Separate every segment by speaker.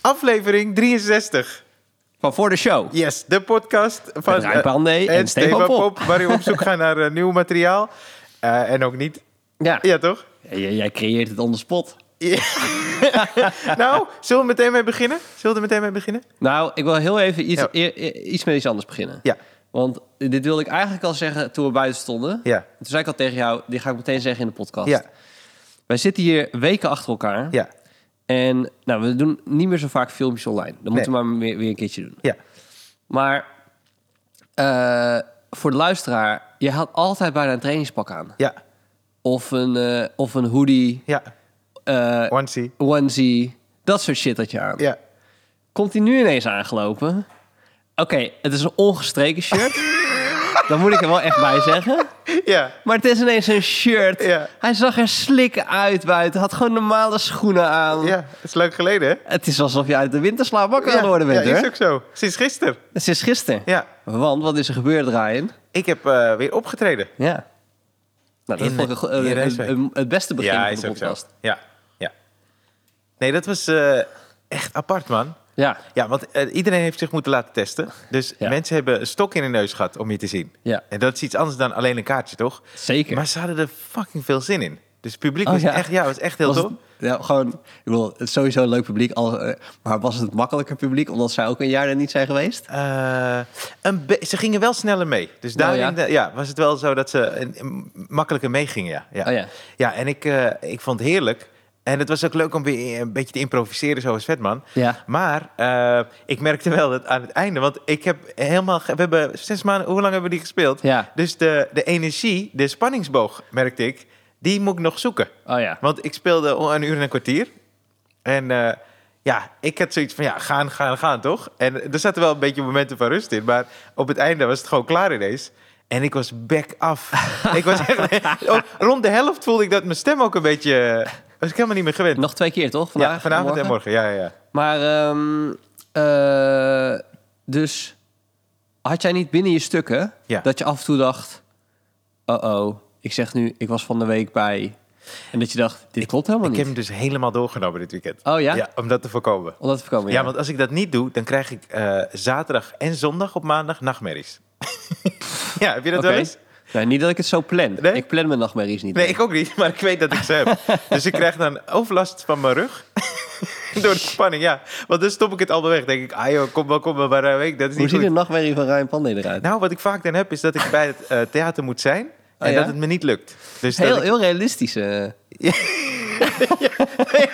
Speaker 1: Aflevering 63.
Speaker 2: Van voor de show.
Speaker 1: Yes, de podcast van
Speaker 2: Met Rijn Pandey
Speaker 1: eh,
Speaker 2: en Stefan Pop.
Speaker 1: waarin we op zoek gaan naar eh, nieuw materiaal. Eh, en ook niet.
Speaker 2: Ja.
Speaker 1: Ja, toch?
Speaker 2: J- Jij creëert het on the spot.
Speaker 1: nou, zullen we meteen mee beginnen? Zullen we er meteen mee beginnen?
Speaker 2: Nou, ik wil heel even iets,
Speaker 1: Ja.
Speaker 2: e- e- iets met iets anders beginnen.
Speaker 1: Ja.
Speaker 2: Want dit wilde ik eigenlijk al zeggen toen we buiten stonden.
Speaker 1: Ja.
Speaker 2: En Toen zei ik al tegen jou, dit ga ik meteen zeggen in de podcast.
Speaker 1: Ja.
Speaker 2: Wij zitten hier weken achter elkaar.
Speaker 1: Ja.
Speaker 2: En nou, we doen niet meer zo vaak filmpjes online. Dat moeten we maar weer, weer een keertje doen.
Speaker 1: Ja.
Speaker 2: Maar eh, voor de luisteraar, je had altijd bijna een trainingspak aan.
Speaker 1: Ja.
Speaker 2: Of een, eh, of een hoodie,
Speaker 1: Ja.
Speaker 2: eh,
Speaker 1: One C.
Speaker 2: onesie, dat soort shit had je aan.
Speaker 1: Ja.
Speaker 2: Komt hij nu ineens aangelopen? Oké, het is een ongestreken shirt. dat moet ik er wel echt bij zeggen.
Speaker 1: Ja.
Speaker 2: Maar het is ineens een shirt.
Speaker 1: Ja.
Speaker 2: Hij zag er slik uit buiten. Had gewoon normale schoenen aan.
Speaker 1: Ja. Dat is leuk geleden, hè?
Speaker 2: Het is alsof je uit de winterslaap wakker aan het worden bent,
Speaker 1: ja, is
Speaker 2: hoor.
Speaker 1: ook zo. Sinds gisteren.
Speaker 2: Het is gisteren.
Speaker 1: Ja.
Speaker 2: Want wat is er gebeurd, Ryan?
Speaker 1: Ik heb eh, weer opgetreden.
Speaker 2: Ja. Nou, dat
Speaker 1: In-
Speaker 2: vond ik een go-
Speaker 1: in
Speaker 2: een-
Speaker 1: Rijswijk.
Speaker 2: een- het beste begin van de
Speaker 1: ook zo.
Speaker 2: podcast.
Speaker 1: Ja. Ja. Nee, dat was eh, echt apart, man.
Speaker 2: Ja,
Speaker 1: Ja, want eh, iedereen heeft zich moeten laten testen. Dus
Speaker 2: Ja.
Speaker 1: mensen hebben een stok in hun neus gehad om je te zien.
Speaker 2: Ja.
Speaker 1: En dat is iets anders dan alleen een kaartje, toch?
Speaker 2: zeker.
Speaker 1: Maar ze hadden er fucking veel zin in. Dus het publiek
Speaker 2: Oh,
Speaker 1: was,
Speaker 2: ja.
Speaker 1: Echt, ja, was echt heel
Speaker 2: Was
Speaker 1: tof.
Speaker 2: het- ja, gewoon, ik bedoel, het is sowieso een leuk publiek. Al, eh, maar was het makkelijker publiek, omdat zij ook een jaar er niet zijn geweest?
Speaker 1: Eh, een be- ze gingen wel sneller mee. Dus
Speaker 2: Nou,
Speaker 1: daarin
Speaker 2: ja.
Speaker 1: eh, ja. was het wel zo dat ze een, een makkelijker meegingen. Ja, ja.
Speaker 2: Oh, ja.
Speaker 1: en ik, eh, ik vond het heerlijk. En het was ook leuk om weer een beetje te improviseren, zoals Vetman.
Speaker 2: Ja.
Speaker 1: Maar eh, ik merkte wel dat aan het einde, want ik heb helemaal. ge- We hebben zes maanden, hoe lang hebben we die gespeeld?
Speaker 2: Ja.
Speaker 1: Dus de, de energie, de spanningsboog, merkte ik, die moet ik nog zoeken.
Speaker 2: Oh ja.
Speaker 1: Want ik speelde o- een uur en een kwartier. En eh, ja, ik had zoiets van, ja, gaan, gaan, gaan, toch? En er zaten wel een beetje momenten van rust in. Maar op het einde was het gewoon klaar ineens. En ik was back af. ik was echt, ook rond de helft voelde ik dat mijn stem ook een beetje... eh, Was ik helemaal niet meer gewend.
Speaker 2: Nog twee keer, toch? Vandaag,
Speaker 1: ja, vanavond en morgen. Ja, ja, ja.
Speaker 2: Maar, ehm, eh, dus had jij niet binnen je stukken
Speaker 1: Ja.
Speaker 2: dat je af en toe dacht: oh-oh, ik zeg nu, ik was van de week bij. En dat je dacht: dit klopt helemaal
Speaker 1: Ik
Speaker 2: niet.
Speaker 1: heb hem dus helemaal doorgenomen dit weekend.
Speaker 2: Oh ja?
Speaker 1: om dat te voorkomen.
Speaker 2: Om dat te voorkomen.
Speaker 1: Ja,
Speaker 2: Ja,
Speaker 1: want als ik dat niet doe, dan krijg ik eh, zaterdag en zondag op maandag nachtmerries. ja, heb je dat
Speaker 2: Oké.
Speaker 1: wel eens?
Speaker 2: Nou, niet dat ik het zo plan.
Speaker 1: Nee?
Speaker 2: Ik plan mijn nachtmerries niet.
Speaker 1: Nee, ik ook niet, maar ik weet dat ik ze heb. dus ik krijg dan overlast van mijn rug. Door de spanning, ja. Want dan stop ik het allemaal weg. Dan denk ik, ah joh, kom wel, kom wel, maar eh, weet ik, dat is
Speaker 2: Hoe
Speaker 1: niet
Speaker 2: ziet
Speaker 1: goed.
Speaker 2: een nachtmerrie van Ryan Pandey eruit?
Speaker 1: Nou, wat ik vaak dan heb, is dat ik bij het eh, theater moet zijn. En
Speaker 2: Oh, ja?
Speaker 1: dat het me niet lukt. Dus dat
Speaker 2: heel,
Speaker 1: ik-
Speaker 2: heel realistisch. eh.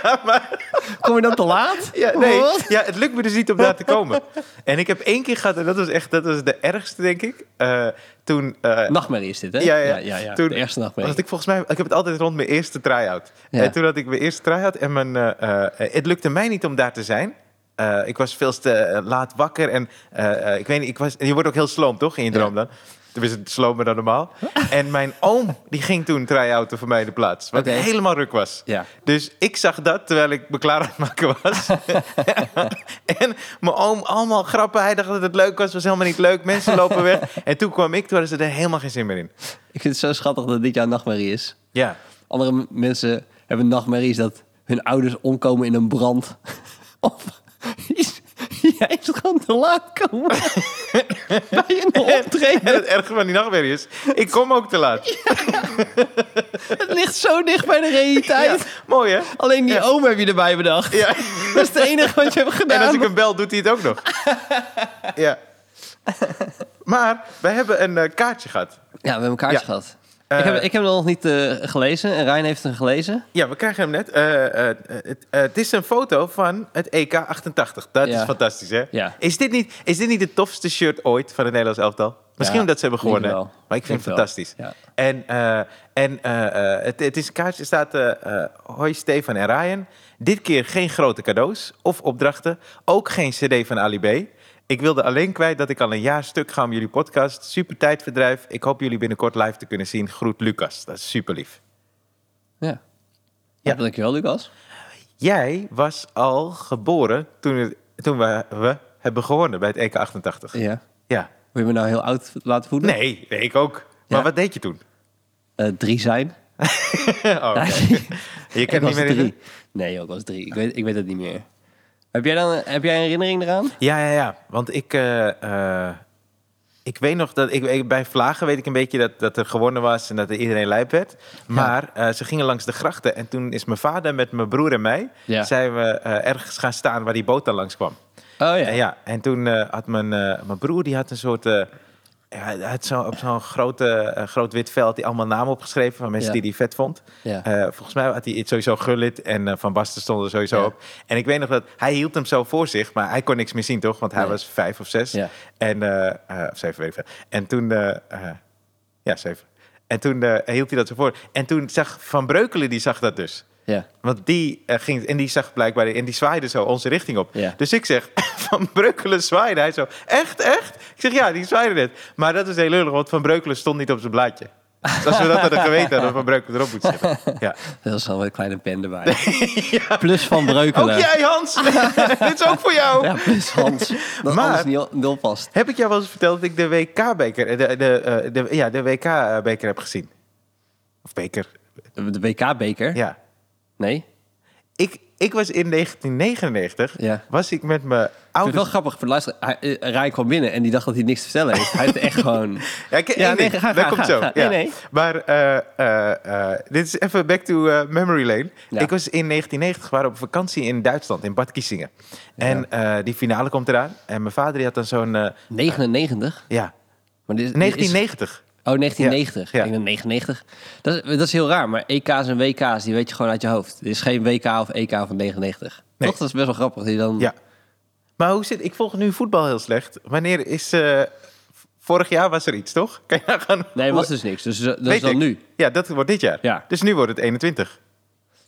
Speaker 1: ja, maar,
Speaker 2: Kom je dan te laat?
Speaker 1: ja, nee,
Speaker 2: Wat?
Speaker 1: ja, het lukt me dus niet om daar te komen. En ik heb één keer gehad, en dat was echt dat was de ergste, denk ik. eh, toen eh,
Speaker 2: Nachtmerrie is dit, hè?
Speaker 1: Ja, ja.
Speaker 2: ja, ja, ja.
Speaker 1: Toen
Speaker 2: de ergste nachtmerrie.
Speaker 1: had ik volgens mij, ik heb het altijd rond mijn eerste try-out.
Speaker 2: Ja.
Speaker 1: En toen had ik mijn eerste try-out en mijn, eh, eh, het lukte mij niet om daar te zijn. Eh, ik was veel te eh, laat wakker en eh, eh, ik weet niet, ik was, je wordt ook heel sloom toch in je droom dan? Tenminste, slomer dan normaal. en mijn oom, die ging toen try-outen voor mij in de plaats. Wat
Speaker 2: Oké.
Speaker 1: helemaal ruk was.
Speaker 2: Ja.
Speaker 1: Dus ik zag dat terwijl ik me klaar aan het maken was. en mijn oom, allemaal grappen. Hij dacht dat het leuk was, was helemaal niet leuk. Mensen lopen weg. En toen kwam ik, toen hadden ze er helemaal geen zin meer in.
Speaker 2: Ik vind het zo schattig dat dit jouw nachtmerrie is.
Speaker 1: Ja.
Speaker 2: Andere m- mensen hebben nachtmerries dat hun ouders omkomen in een brand. of iets- jij is gewoon te laat komen. Bij een
Speaker 1: En
Speaker 2: optreden.
Speaker 1: het erge van die nachtmerrie is, ik kom ook te laat.
Speaker 2: Het ligt zo dicht bij de realiteit.
Speaker 1: Mooi hè?
Speaker 2: Alleen die oom heb je erbij bedacht.
Speaker 1: Ja.
Speaker 2: Dat is het enige wat je hebt gedaan.
Speaker 1: En als ik hem bel, doet hij het ook nog. Ja. Maar wij hebben een eh, kaartje gehad.
Speaker 2: Ja, we hebben een kaartje
Speaker 1: Ja.
Speaker 2: gehad.
Speaker 1: Eh,
Speaker 2: ik, heb, ik heb hem nog niet eh, gelezen en Rijn heeft hem gelezen.
Speaker 1: Ja, we krijgen hem net. Eh, eh, eh, eh, het is een foto van het EK 88. Dat
Speaker 2: Ja.
Speaker 1: is fantastisch, hè?
Speaker 2: Ja.
Speaker 1: Is, dit niet, is dit niet het tofste shirt ooit van het Nederlands elftal? Misschien
Speaker 2: Ja,
Speaker 1: omdat ze hebben
Speaker 2: denk
Speaker 1: gewonnen.
Speaker 2: ik wel.
Speaker 1: Maar ik vind
Speaker 2: Denk
Speaker 1: het
Speaker 2: wel.
Speaker 1: fantastisch.
Speaker 2: Ja.
Speaker 1: En, eh, en eh, eh, het, het is een kaartje, er staat... eh, eh, Hoi Stefan en Ryan. Dit keer geen grote cadeaus of opdrachten. Ook geen cd van Ali B. Ik wilde alleen kwijt dat ik al een jaar stuk ga om jullie podcast. Super tijdverdrijf. Ik hoop jullie binnenkort live te kunnen zien. Groet Lucas. Dat is super lief.
Speaker 2: Ja. Ja, dankjewel Lucas.
Speaker 1: Jij was al geboren toen, het- toen we, we hebben gewonnen bij het EK 88. Ja.
Speaker 2: Ja. Wil je me nou heel oud laten voelen?
Speaker 1: Nee, nee, ik ook. Maar
Speaker 2: Ja.
Speaker 1: wat deed je toen?
Speaker 2: Eh, drie zijn.
Speaker 1: oh, oké.
Speaker 2: Nee.
Speaker 1: Je
Speaker 2: ik
Speaker 1: kent
Speaker 2: was
Speaker 1: niet meer
Speaker 2: drie.
Speaker 1: in.
Speaker 2: Nee, joh, ik was drie. Ik weet, ik weet het niet meer. Heb jij, dan, heb jij een herinnering eraan?
Speaker 1: Ja, ja, ja. Want ik, eh, eh, ik weet nog dat ik, ik- bij Vlagen weet ik een beetje dat, dat er gewonnen was en dat er iedereen lijp werd. Maar eh, ze gingen langs de grachten en toen is mijn vader met mijn broer en mij
Speaker 2: Ja.
Speaker 1: zijn we eh, ergens gaan staan waar die boot dan langs kwam.
Speaker 2: Oh ja.
Speaker 1: En, ja, en toen eh, had mijn, eh, mijn broer die had een soort. eh, ja, hij had zo, op zo'n grote, eh, groot wit veld die allemaal namen opgeschreven van mensen
Speaker 2: Ja.
Speaker 1: die hij vet vond.
Speaker 2: Ja.
Speaker 1: Eh, volgens mij had hij iets sowieso Gullit en eh, Van Basten stonden er sowieso
Speaker 2: Ja.
Speaker 1: op. En ik weet nog dat hij hield hem zo voor zich, maar hij kon niks meer zien toch? Want hij
Speaker 2: Nee.
Speaker 1: was vijf of zes.
Speaker 2: Ja.
Speaker 1: En, eh eh, of zeven, weet ik veel. En toen, eh, eh, ja zeven. En toen eh, hield hij dat zo voor. En toen zag Van Breukelen, die zag dat dus.
Speaker 2: ja.
Speaker 1: Want die eh, ging, en die zag blijkbaar, en die zwaaide zo onze richting op.
Speaker 2: Ja.
Speaker 1: Dus ik zeg, Van Breukelen zwaaide. Hij zo, echt, echt? Ik zeg, ja, die zwaaide net. Maar dat is heel lullig, want Van Breukelen stond niet op zijn blaadje. Dus als we dat hadden geweten, hadden we Van Breukelen erop moeten zetten. Ja.
Speaker 2: Dat is wel een kleine pen erbij. Plus van Breukelen.
Speaker 1: Ook jij, Hans! Dit is ook voor jou!
Speaker 2: Ja, plus Hans. Dat
Speaker 1: Maar-
Speaker 2: alles niet, o- niet oppast.
Speaker 1: Heb ik jou wel eens verteld dat ik de WK-beker, de, de, eh, de, ja, de WK-beker heb gezien? Of beker,
Speaker 2: De WK-beker?
Speaker 1: ja.
Speaker 2: Nee?
Speaker 1: Ik, ik was in 1999,
Speaker 2: Ja.
Speaker 1: was ik met mijn
Speaker 2: Ik vind het
Speaker 1: ouders...
Speaker 2: wel grappig voor de luisteraar. Hij- eh, Rijn kwam binnen en die dacht dat hij niks te vertellen heeft. Hij heeft echt gewoon...
Speaker 1: Ja, ik,
Speaker 2: Ja,
Speaker 1: één
Speaker 2: nee,
Speaker 1: ding.
Speaker 2: ga-
Speaker 1: dat
Speaker 2: ga-
Speaker 1: komt
Speaker 2: ga-
Speaker 1: zo.
Speaker 2: ga.
Speaker 1: ja.
Speaker 2: Nee, nee.
Speaker 1: Maar eh, eh, eh, dit is even back to eh, memory lane.
Speaker 2: Ja.
Speaker 1: Ik was in 1990, waren we op vakantie in Duitsland, in Bad Kiesingen. En eh, die finale komt eraan. En mijn vader die had dan zo'n, eh,
Speaker 2: 99?
Speaker 1: ja,
Speaker 2: Maar dit, is- dit is-
Speaker 1: 1990.
Speaker 2: oh, 1990.
Speaker 1: Ja, ja.
Speaker 2: Ik denk 99. Dat, is- dat is heel raar, maar EK's en WK's, die weet je gewoon uit je hoofd. Er is geen WK of EK van 99.
Speaker 1: Nee.
Speaker 2: Toch? Dat is best wel grappig. Die dan...
Speaker 1: Ja. Maar hoe zit, ik volg nu voetbal heel slecht. Wanneer is, eh, vorig jaar was er iets, toch? Kan je nou gaan?
Speaker 2: Nee, was dus niks. Dus eh, dat is
Speaker 1: Weet
Speaker 2: dan
Speaker 1: ik.
Speaker 2: nu.
Speaker 1: Ja, dat wordt dit jaar.
Speaker 2: Ja.
Speaker 1: Dus nu wordt het 21.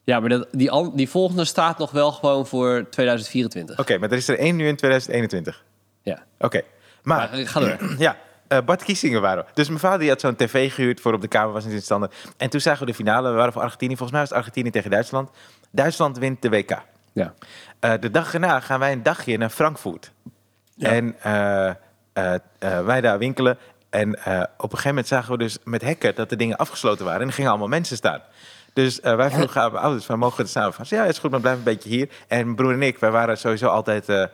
Speaker 2: Ja, maar dat, die, an- die volgende staat nog wel gewoon voor 2024.
Speaker 1: Oké, maar er is er één nu in 2021.
Speaker 2: Ja.
Speaker 1: Oké, maar...
Speaker 2: Maar, eh, ga door.
Speaker 1: Ja, eh, Bad Kiesingen waren we. Dus mijn vader die had zo'n tv gehuurd voor op de kamer, was niet in standaard. En toen zagen we de finale, we waren voor Argentinië. Volgens mij was het Argentinië tegen Duitsland. Duitsland wint de WK.
Speaker 2: Ja.
Speaker 1: Eh, de dag erna gaan wij een dagje naar Frankfurt. En eh, eh, eh, wij daar winkelen. En eh, op een gegeven moment zagen we dus met hekken dat de dingen afgesloten waren. En er gingen allemaal mensen staan. Dus eh, wij vroegen aan mijn ouders, wij mogen er staan. Van, ja, is goed, maar blijf een beetje hier. En mijn broer en ik, wij waren sowieso altijd eh,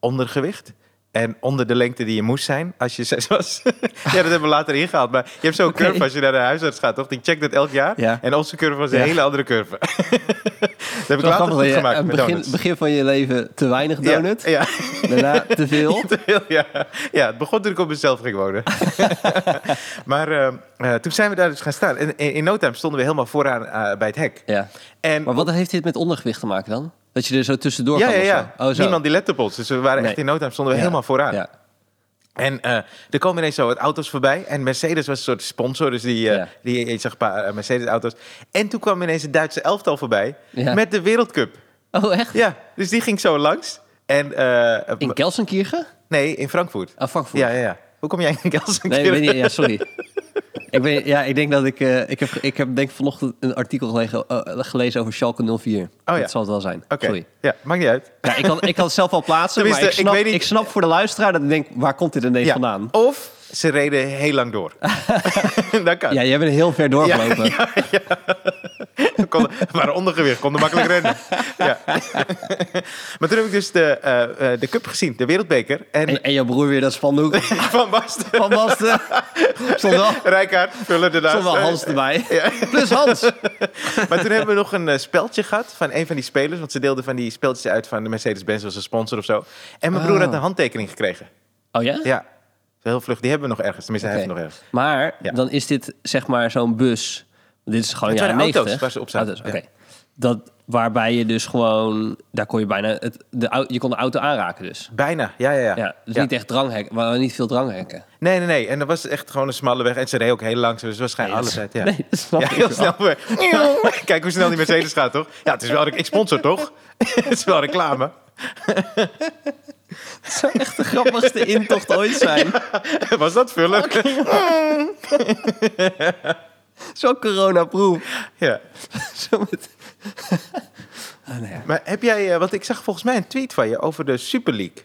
Speaker 1: ondergewicht. En onder de lengte die je moest zijn als je zes was. ja, dat hebben we later ingehaald. Maar je hebt zo'n
Speaker 2: Oké.
Speaker 1: curve als je naar de huisarts gaat, toch? Die checkt dat elk jaar.
Speaker 2: Ja.
Speaker 1: En onze curve was een
Speaker 2: Ja.
Speaker 1: hele andere curve. dat heb ik
Speaker 2: Zo
Speaker 1: later
Speaker 2: grappig
Speaker 1: goed
Speaker 2: dat je aan
Speaker 1: gemaakt
Speaker 2: het
Speaker 1: met
Speaker 2: begin,
Speaker 1: donuts.
Speaker 2: begin van je leven te weinig donut,
Speaker 1: Ja, ja.
Speaker 2: daarna te veel.
Speaker 1: Te veel, ja. ja, het begon toen ik op mezelf ging wonen. maar eh, eh, toen zijn we daar dus gaan staan. En in, in no time stonden we helemaal vooraan eh, bij het hek.
Speaker 2: Ja.
Speaker 1: En
Speaker 2: Maar wat heeft dit met ondergewicht te maken dan? Dat je er zo tussendoor
Speaker 1: ja,
Speaker 2: kan
Speaker 1: ja,
Speaker 2: of
Speaker 1: ja.
Speaker 2: zo? Oh, zo.
Speaker 1: niemand die lette op ons. Dus we waren echt in
Speaker 2: Nee.
Speaker 1: no time stonden we
Speaker 2: Ja.
Speaker 1: helemaal vooraan.
Speaker 2: Ja.
Speaker 1: En eh, er komen ineens zo wat auto's voorbij. En Mercedes was een soort sponsor, dus die, eh
Speaker 2: Ja.
Speaker 1: die je zag een paar eh, Mercedes-auto's. En toen kwam ineens het Duitse elftal voorbij
Speaker 2: Ja.
Speaker 1: met de Wereldcup.
Speaker 2: Oh, echt?
Speaker 1: Ja, dus die ging zo langs. En, eh,
Speaker 2: In Kelsenkirchen?
Speaker 1: nee, in Frankfurt.
Speaker 2: Ah, Frankfurt.
Speaker 1: Ja, ja, ja. Hoe kom jij in Kelsen?
Speaker 2: Nee, ik weet niet. Ja, sorry. ik, ben, ja, ik denk dat ik... eh, ik, heb, ik heb denk ik vanochtend een artikel gelegen, eh, gelezen over Schalke 04.
Speaker 1: Oh, ja.
Speaker 2: Dat zal het wel zijn.
Speaker 1: Oké,
Speaker 2: Sorry.
Speaker 1: ja, maakt niet uit.
Speaker 2: Ja, ik, kan, ik kan het zelf wel plaatsen, maar ik
Speaker 1: Tenminste, ik
Speaker 2: snap, ik,
Speaker 1: weet niet-
Speaker 2: snap voor de luisteraar dat ik denk, waar komt dit ineens
Speaker 1: Ja.
Speaker 2: vandaan?
Speaker 1: Of ze reden heel lang door. dat kan.
Speaker 2: Ja, jij bent heel ver doorgelopen.
Speaker 1: We konden, we waren ondergewicht, konden makkelijk rennen. ja. maar toen heb ik dus de, eh, eh, de cup gezien, de wereldbeker. En,
Speaker 2: En, en jouw broer weer dat spandoek
Speaker 1: Van Basten,
Speaker 2: van Basten. Stond wel,
Speaker 1: Rijkaard, vullen ernaast.
Speaker 2: stond wel Hans erbij. Plus Hans.
Speaker 1: Maar toen hebben we nog een eh, speldje gehad van een van die spelers. Want ze deelden van die speeltjes uit van de Mercedes-Benz als een sponsor of zo. En mijn broer
Speaker 2: Oh.
Speaker 1: had een handtekening gekregen.
Speaker 2: Oh ja?
Speaker 1: Ja, heel vlug. Die hebben we nog ergens. Tenminste, hij
Speaker 2: Oké.
Speaker 1: heeft hem nog ergens.
Speaker 2: Maar
Speaker 1: Ja.
Speaker 2: dan is dit zeg maar zo'n bus. Dit is gewoon
Speaker 1: Het
Speaker 2: jaren
Speaker 1: waren auto's
Speaker 2: 90.
Speaker 1: waar ze op zaten,
Speaker 2: Auto's, oké. Dat, waarbij je dus gewoon... Daar kon je bijna... Het, de, au- je kon de auto aanraken dus.
Speaker 1: Bijna, ja, ja, ja.
Speaker 2: Ja, dus
Speaker 1: Ja.
Speaker 2: niet echt dranghekken. Maar niet veel dranghekken.
Speaker 1: Nee, nee, nee. En dat was echt gewoon een smalle weg. En ze reed ook heel langzaam. Dus waarschijnlijk alles uit. Ja.
Speaker 2: Nee, dat snap
Speaker 1: ja,
Speaker 2: ik
Speaker 1: heel
Speaker 2: wel.
Speaker 1: snel weer. Kijk hoe snel die Mercedes gaat, toch? Ja, het is wel... rec- Ik sponsor, toch? het is wel reclame.
Speaker 2: Dat zou echt de grappigste intocht ooit zijn.
Speaker 1: Was dat vullen?
Speaker 2: Zo coronaproof.
Speaker 1: Ja.
Speaker 2: Zo met... Ah, nou ja.
Speaker 1: Maar heb jij... eh, Want ik zag volgens mij een tweet van je over de Super League.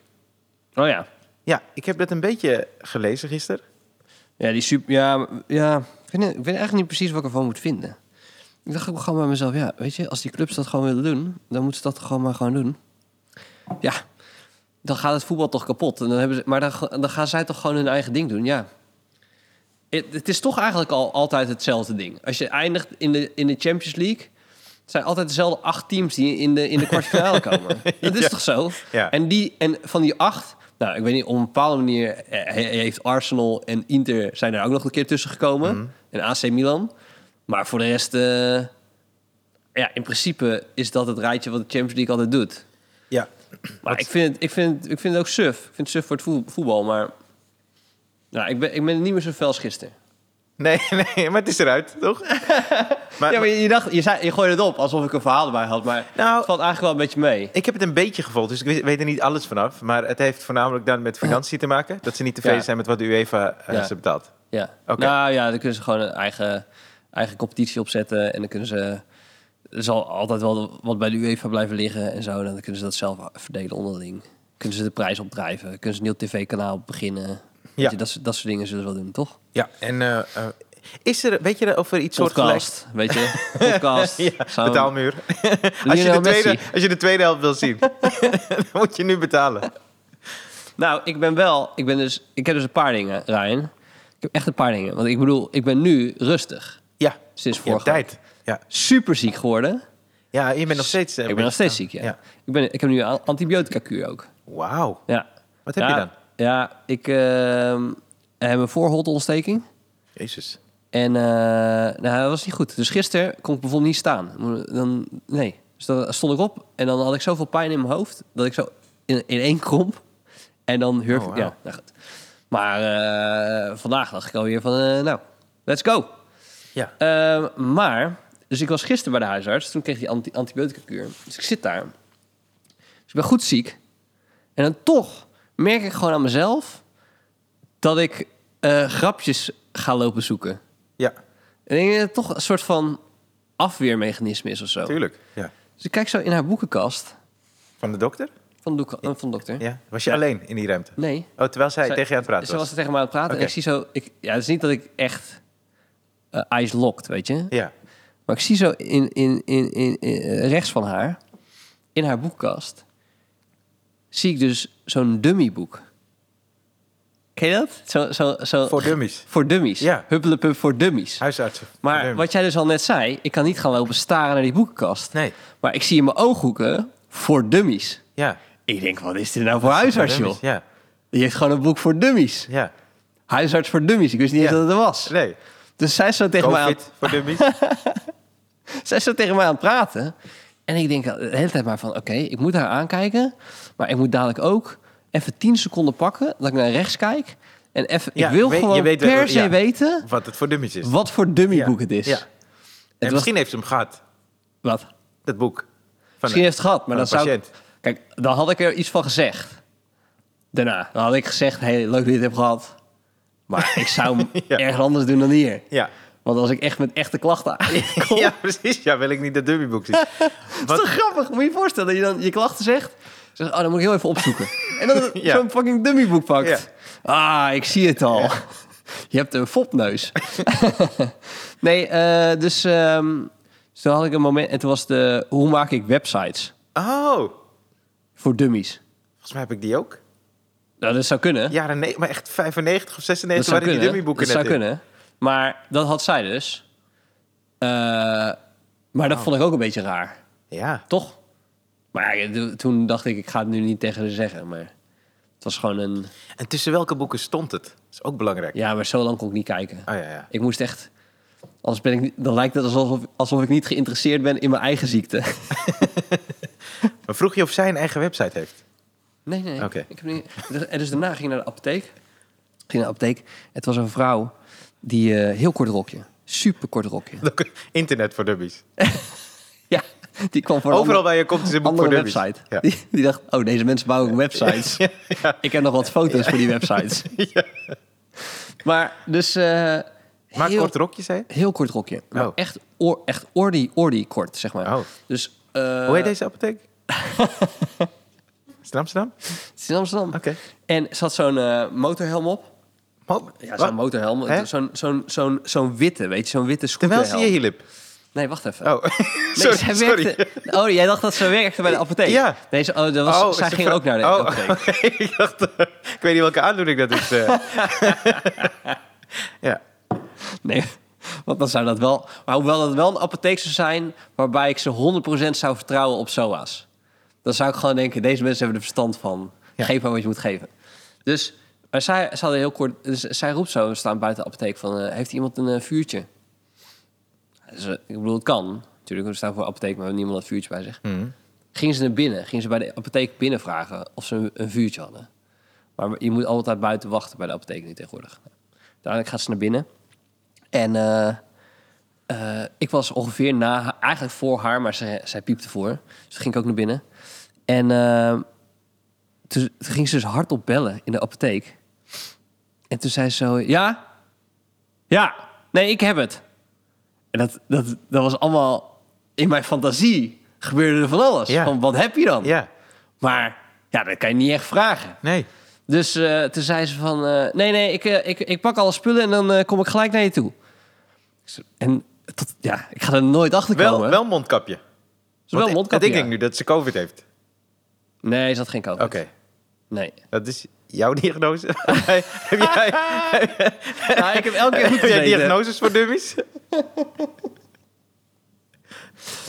Speaker 2: Oh ja.
Speaker 1: Ja, ik heb dat een beetje gelezen gisteren.
Speaker 2: Ja, die super... Ja, ja ik, vind, ik weet eigenlijk niet precies wat ik ervan moet vinden. Ik dacht ook gewoon bij mezelf, ja, weet je, als die clubs dat gewoon willen doen, dan moeten ze dat gewoon maar gewoon doen. Ja, dan gaat het voetbal toch kapot. En dan hebben ze, maar dan, dan gaan zij toch gewoon hun eigen ding doen, ja. Het, het is toch eigenlijk al altijd hetzelfde ding. Als je eindigt in de, in de Champions League... Het zijn altijd dezelfde acht teams die in de, in de kwartfinale komen. Dat is toch zo?
Speaker 1: Ja.
Speaker 2: En, die, en van die acht... Nou, ik weet niet, op een bepaalde manier eh, he- heeft Arsenal en Inter... zijn er ook nog een keer tussen gekomen.
Speaker 1: Mhm.
Speaker 2: En AC Milan. Maar voor de rest... eh, ja, in principe is dat het rijtje wat de Champions League altijd doet.
Speaker 1: Ja.
Speaker 2: Maar ik vind, het, ik, vind het, ik vind het ook suf. Ik vind het suf voor het voe- voetbal, maar... Nou, ik ben, ik ben niet meer zo fel als gisteren.
Speaker 1: Nee, nee, maar het is eruit, toch? maar,
Speaker 2: Ja, maar je, dacht, je, zei, je gooide het op alsof ik een verhaal erbij had, maar
Speaker 1: Nou-
Speaker 2: het valt eigenlijk wel een beetje mee.
Speaker 1: Ik heb het een beetje gevolgd, dus ik weet- weet er niet alles vanaf. Maar het heeft voornamelijk dan met financiën te maken. Dat ze niet tevreden
Speaker 2: Ja.
Speaker 1: zijn met wat de UEFA eh,
Speaker 2: Ja.
Speaker 1: ze betaalt.
Speaker 2: Ja.
Speaker 1: Oké.
Speaker 2: Nou ja, dan kunnen ze gewoon een eigen, eigen competitie opzetten en dan kunnen ze... Er zal altijd wel wat bij de UEFA blijven liggen en zo. En dan kunnen ze dat zelf verdelen onderling. Kunnen ze de prijs opdrijven. Kunnen ze een nieuw tv-kanaal beginnen.
Speaker 1: Ja.
Speaker 2: Weet je, dat, soort- dat soort dingen zullen ze wel doen, toch?
Speaker 1: Ja, en eh, eh, is er, weet je of er iets soort
Speaker 2: Podcast, weet je. Podcast.
Speaker 1: Ja,
Speaker 2: Zo'n-
Speaker 1: betaalmuur. als, je de
Speaker 2: Lionel nou Messi.
Speaker 1: tweede, als je de tweede helft wil zien, dan moet je nu betalen.
Speaker 2: Nou, ik ben wel. Ik, ben dus, ik heb dus een paar dingen, Ryan. Ik heb echt een paar dingen. Want ik bedoel, ik ben nu rustig.
Speaker 1: Ja,
Speaker 2: Sinds
Speaker 1: je
Speaker 2: vorige
Speaker 1: hebt tijd. Ja.
Speaker 2: Super ziek geworden.
Speaker 1: ja, je bent nog steeds... eh,
Speaker 2: ik ben nog steeds ziek, ja. Ik, ben, ik heb nu een an- antibiotica-kuur ook.
Speaker 1: Wauw.
Speaker 2: Ja.
Speaker 1: Wat heb je
Speaker 2: Ja,
Speaker 1: dan?
Speaker 2: Ja, ik ehm, heb een voorholtontsteking.
Speaker 1: Jezus.
Speaker 2: En eh, nou, dat was niet goed. Dus gisteren kon ik bijvoorbeeld niet staan. Mo- Dan, nee. Dus dan stond ik op en dan had ik zoveel pijn in mijn hoofd dat ik zo in, in één kromp. En dan hurf
Speaker 1: Oh, wauw.
Speaker 2: Ja, nou goed. Maar eh, vandaag dacht ik alweer van, eh, nou, let's go.
Speaker 1: Ja.
Speaker 2: Ehm, maar, dus ik was gisteren bij de huisarts. Toen kreeg hij anti antibiotica-kuur. Dus ik zit daar. Dus ik ben goed ziek. En dan toch merk ik gewoon aan mezelf dat ik eh, grapjes ga lopen zoeken.
Speaker 1: Ja,
Speaker 2: En ik denk dat het toch een soort van afweermechanisme is of zo.
Speaker 1: tuurlijk. Ja.
Speaker 2: Dus ik kijk zo in haar boekenkast
Speaker 1: Van de dokter?
Speaker 2: van, doek, eh, van dokter.
Speaker 1: Ja. Was je alleen in die ruimte?
Speaker 2: Nee.
Speaker 1: Oh, terwijl zij,
Speaker 2: Zij-
Speaker 1: tegen je aan het praten
Speaker 2: Ze
Speaker 1: was.
Speaker 2: was er tegen mij aan het praten.
Speaker 1: Oké.
Speaker 2: En ik zie zo... Ik, ja, het is niet dat ik echt eh eyes locked, weet je.
Speaker 1: Ja.
Speaker 2: Maar ik zie zo in, in, in, in, in- eh, rechts van haar, in haar boekkast, zie ik dus zo'n dummyboek. Ken je dat? Zo, zo, zo,
Speaker 1: Voor dummies.
Speaker 2: Voor dummies.
Speaker 1: Ja.
Speaker 2: Huppelepup voor dummies.
Speaker 1: Huisartsen.
Speaker 2: Maar
Speaker 1: Dummies.
Speaker 2: wat jij dus al net zei, ik kan niet gaan lopen staren naar die boekenkast.
Speaker 1: Nee.
Speaker 2: Maar ik zie in mijn ooghoeken voor dummies.
Speaker 1: Ja.
Speaker 2: Ik denk, wat is dit nou voor huisarts,
Speaker 1: Dummies,
Speaker 2: joh?
Speaker 1: Ja.
Speaker 2: Die heeft gewoon een boek voor dummies.
Speaker 1: Ja.
Speaker 2: Huisarts voor dummies. Ik wist niet
Speaker 1: Ja.
Speaker 2: eens dat het er was.
Speaker 1: Nee.
Speaker 2: Dus zij is zo tegen mij aan
Speaker 1: Covid voor dummies.
Speaker 2: Zij is zo tegen mij aan het praten. En ik denk de hele tijd maar van... Oké, ik moet haar aankijken. Maar ik moet dadelijk ook even 10 seconden pakken... dat ik naar rechts kijk. En even,
Speaker 1: Ja,
Speaker 2: ik wil
Speaker 1: je weet- je
Speaker 2: gewoon
Speaker 1: weet wel-
Speaker 2: per se
Speaker 1: ja.
Speaker 2: weten...
Speaker 1: Wat het voor dummies is.
Speaker 2: wat voor dummyboek
Speaker 1: Ja.
Speaker 2: het is.
Speaker 1: Ja. En
Speaker 2: was-
Speaker 1: misschien heeft ze hem gehad,
Speaker 2: Wat?
Speaker 1: dat boek. Van
Speaker 2: Misschien heeft het gehad, maar
Speaker 1: van
Speaker 2: dan
Speaker 1: een
Speaker 2: zou ik... Kijk, dan had ik er iets van gezegd. Daarna. Dan had ik gezegd... hey, leuk dat je het hebt gehad. Maar ik zou hem
Speaker 1: Ja.
Speaker 2: ergens anders doen dan hier.
Speaker 1: Ja.
Speaker 2: Want als ik echt met echte klachten aankom...
Speaker 1: Ja, precies. Ja, wil ik niet dat dummyboek zien.
Speaker 2: Dat is toch grappig? Moet je je voorstellen dat je dan je klachten zegt. Zeg, oh, dan moet ik heel even opzoeken. en dan
Speaker 1: Ja.
Speaker 2: zo'n fucking dummyboek pakt. Ah, ik zie het al. Je hebt een fopneus. nee, eh, dus ehm, dus toen had ik een moment... En toen was de... Hoe maak ik websites
Speaker 1: Oh,
Speaker 2: voor dummies?
Speaker 1: volgens mij heb ik die ook.
Speaker 2: Nou, dat zou kunnen.
Speaker 1: Jaren nee, maar echt 95 of
Speaker 2: dat
Speaker 1: 96
Speaker 2: zou
Speaker 1: waren die
Speaker 2: kunnen.
Speaker 1: dummyboeken
Speaker 2: dat zou
Speaker 1: net in.
Speaker 2: kunnen. Maar dat had zij dus. Eh, maar
Speaker 1: Oh.
Speaker 2: dat vond ik ook een beetje raar.
Speaker 1: Ja,
Speaker 2: Toch? Maar ja, do- toen dacht ik, ik ga het nu niet tegen haar zeggen. Maar het was gewoon een...
Speaker 1: en tussen welke boeken stond het? Dat is ook belangrijk.
Speaker 2: Ja, maar zo lang kon ik niet kijken.
Speaker 1: Oh ja, ja.
Speaker 2: Ik moest echt... Anders ben ik, niet- dan lijkt het alsof, alsof ik niet geïnteresseerd ben in mijn eigen ziekte.
Speaker 1: Maar vroeg je of zij een eigen website heeft?
Speaker 2: Nee, nee.
Speaker 1: Oké.
Speaker 2: Ik heb niet... Dus- En dus daarna ging ik naar de apotheek. Ik Ging naar de apotheek. Het was een vrouw die eh, heel kort rokje. Super kort rokje.
Speaker 1: Internet voor dummies.
Speaker 2: Ja, die kwam voor een
Speaker 1: Overal
Speaker 2: ander-
Speaker 1: waar je komt is een boek voor
Speaker 2: andere
Speaker 1: dummies.
Speaker 2: website.
Speaker 1: Ja.
Speaker 2: Die, die dacht, oh, deze mensen bouwen ook websites. Ik heb nog wat foto's voor die websites. Maar dus... eh
Speaker 1: Maar
Speaker 2: heel,
Speaker 1: kort rokje, zei je?
Speaker 2: Heel kort rokje. Maar
Speaker 1: Oh.
Speaker 2: echt, oor, echt ordi, ordi kort, zeg maar.
Speaker 1: Oh.
Speaker 2: Dus... eh,
Speaker 1: Hoe heet deze apotheek? is het in Amsterdam?
Speaker 2: het is in Amsterdam.
Speaker 1: Oké.
Speaker 2: En ze had zo'n eh, motorhelm op.
Speaker 1: Mo-
Speaker 2: Ja,
Speaker 1: Wat?
Speaker 2: zo'n motorhelm.
Speaker 1: Hè?
Speaker 2: Zo'n zo'n zo'n zo'n witte, weet je, zo'n witte
Speaker 1: Terwijl
Speaker 2: scooterhelm.
Speaker 1: ze je hielp.
Speaker 2: Nee, wacht even.
Speaker 1: Oh,
Speaker 2: Nee,
Speaker 1: sorry.
Speaker 2: zij
Speaker 1: sorry.
Speaker 2: werkte, Oh, jij dacht dat ze werkte bij de apotheek?
Speaker 1: Ja.
Speaker 2: Nee, ze, oh, dat was,
Speaker 1: Oh,
Speaker 2: zij
Speaker 1: ze
Speaker 2: ging
Speaker 1: ver-
Speaker 2: ook naar de
Speaker 1: Oh,
Speaker 2: apotheek.
Speaker 1: oké. ik dacht, eh, ik weet niet welke aandoening dat is. eh. ja.
Speaker 2: Nee, want dan zou dat wel... Maar hoewel dat wel een apotheek zou zijn... waarbij ik ze 100% zou vertrouwen op SOA's. Dan zou ik gewoon denken, deze mensen hebben er verstand van.
Speaker 1: Ja.
Speaker 2: Geef maar wat je moet geven. Dus maar zij, ze hadden heel kort... Dus zij roept zo, we staan buiten de apotheek van... eh, heeft iemand een eh, vuurtje? Dus, eh, ik bedoel, het kan. Natuurlijk, we staan voor de apotheek, maar we hebben niemand dat vuurtje bij zich. Gingen ze naar binnen. Gingen ze bij de apotheek binnen vragen of ze een, een vuurtje hadden. Maar je moet altijd buiten wachten bij de apotheek nu tegenwoordig. Uiteindelijk gaat ze naar binnen. En eh, eh, ik was ongeveer na, haar- eigenlijk voor haar, maar zij, zij piepte voor. Dus toen ging ik ook naar binnen. En eh, toen, toen ging ze dus hardop bellen in de apotheek. En toen zei ze zo, ja? Ja, nee, ik heb het. En dat, dat, dat was allemaal in mijn fantasie gebeurde er van alles.
Speaker 1: Ja.
Speaker 2: Van, wat heb je dan?
Speaker 1: ja,
Speaker 2: Maar ja, dat kan je niet echt vragen.
Speaker 1: nee.
Speaker 2: Dus eh, toen zei ze van... eh, nee, nee, ik, eh, ik, ik pak alle spullen en dan eh, kom ik gelijk naar je toe. Ik zei, En tot, ja, ik ga er nooit achter komen.
Speaker 1: Wel, wel mondkapje.
Speaker 2: Ze wel
Speaker 1: Want ik-
Speaker 2: mondkapje,
Speaker 1: Ik denk
Speaker 2: ja.
Speaker 1: nu dat ze COVID heeft.
Speaker 2: Nee, ze had geen
Speaker 1: Oké,
Speaker 2: COVID. Nee.
Speaker 1: dat is jouw diagnose. heb jij,
Speaker 2: Nou, ik heb elke keer goed
Speaker 1: heb jij
Speaker 2: gezeten.
Speaker 1: diagnoses voor dummies?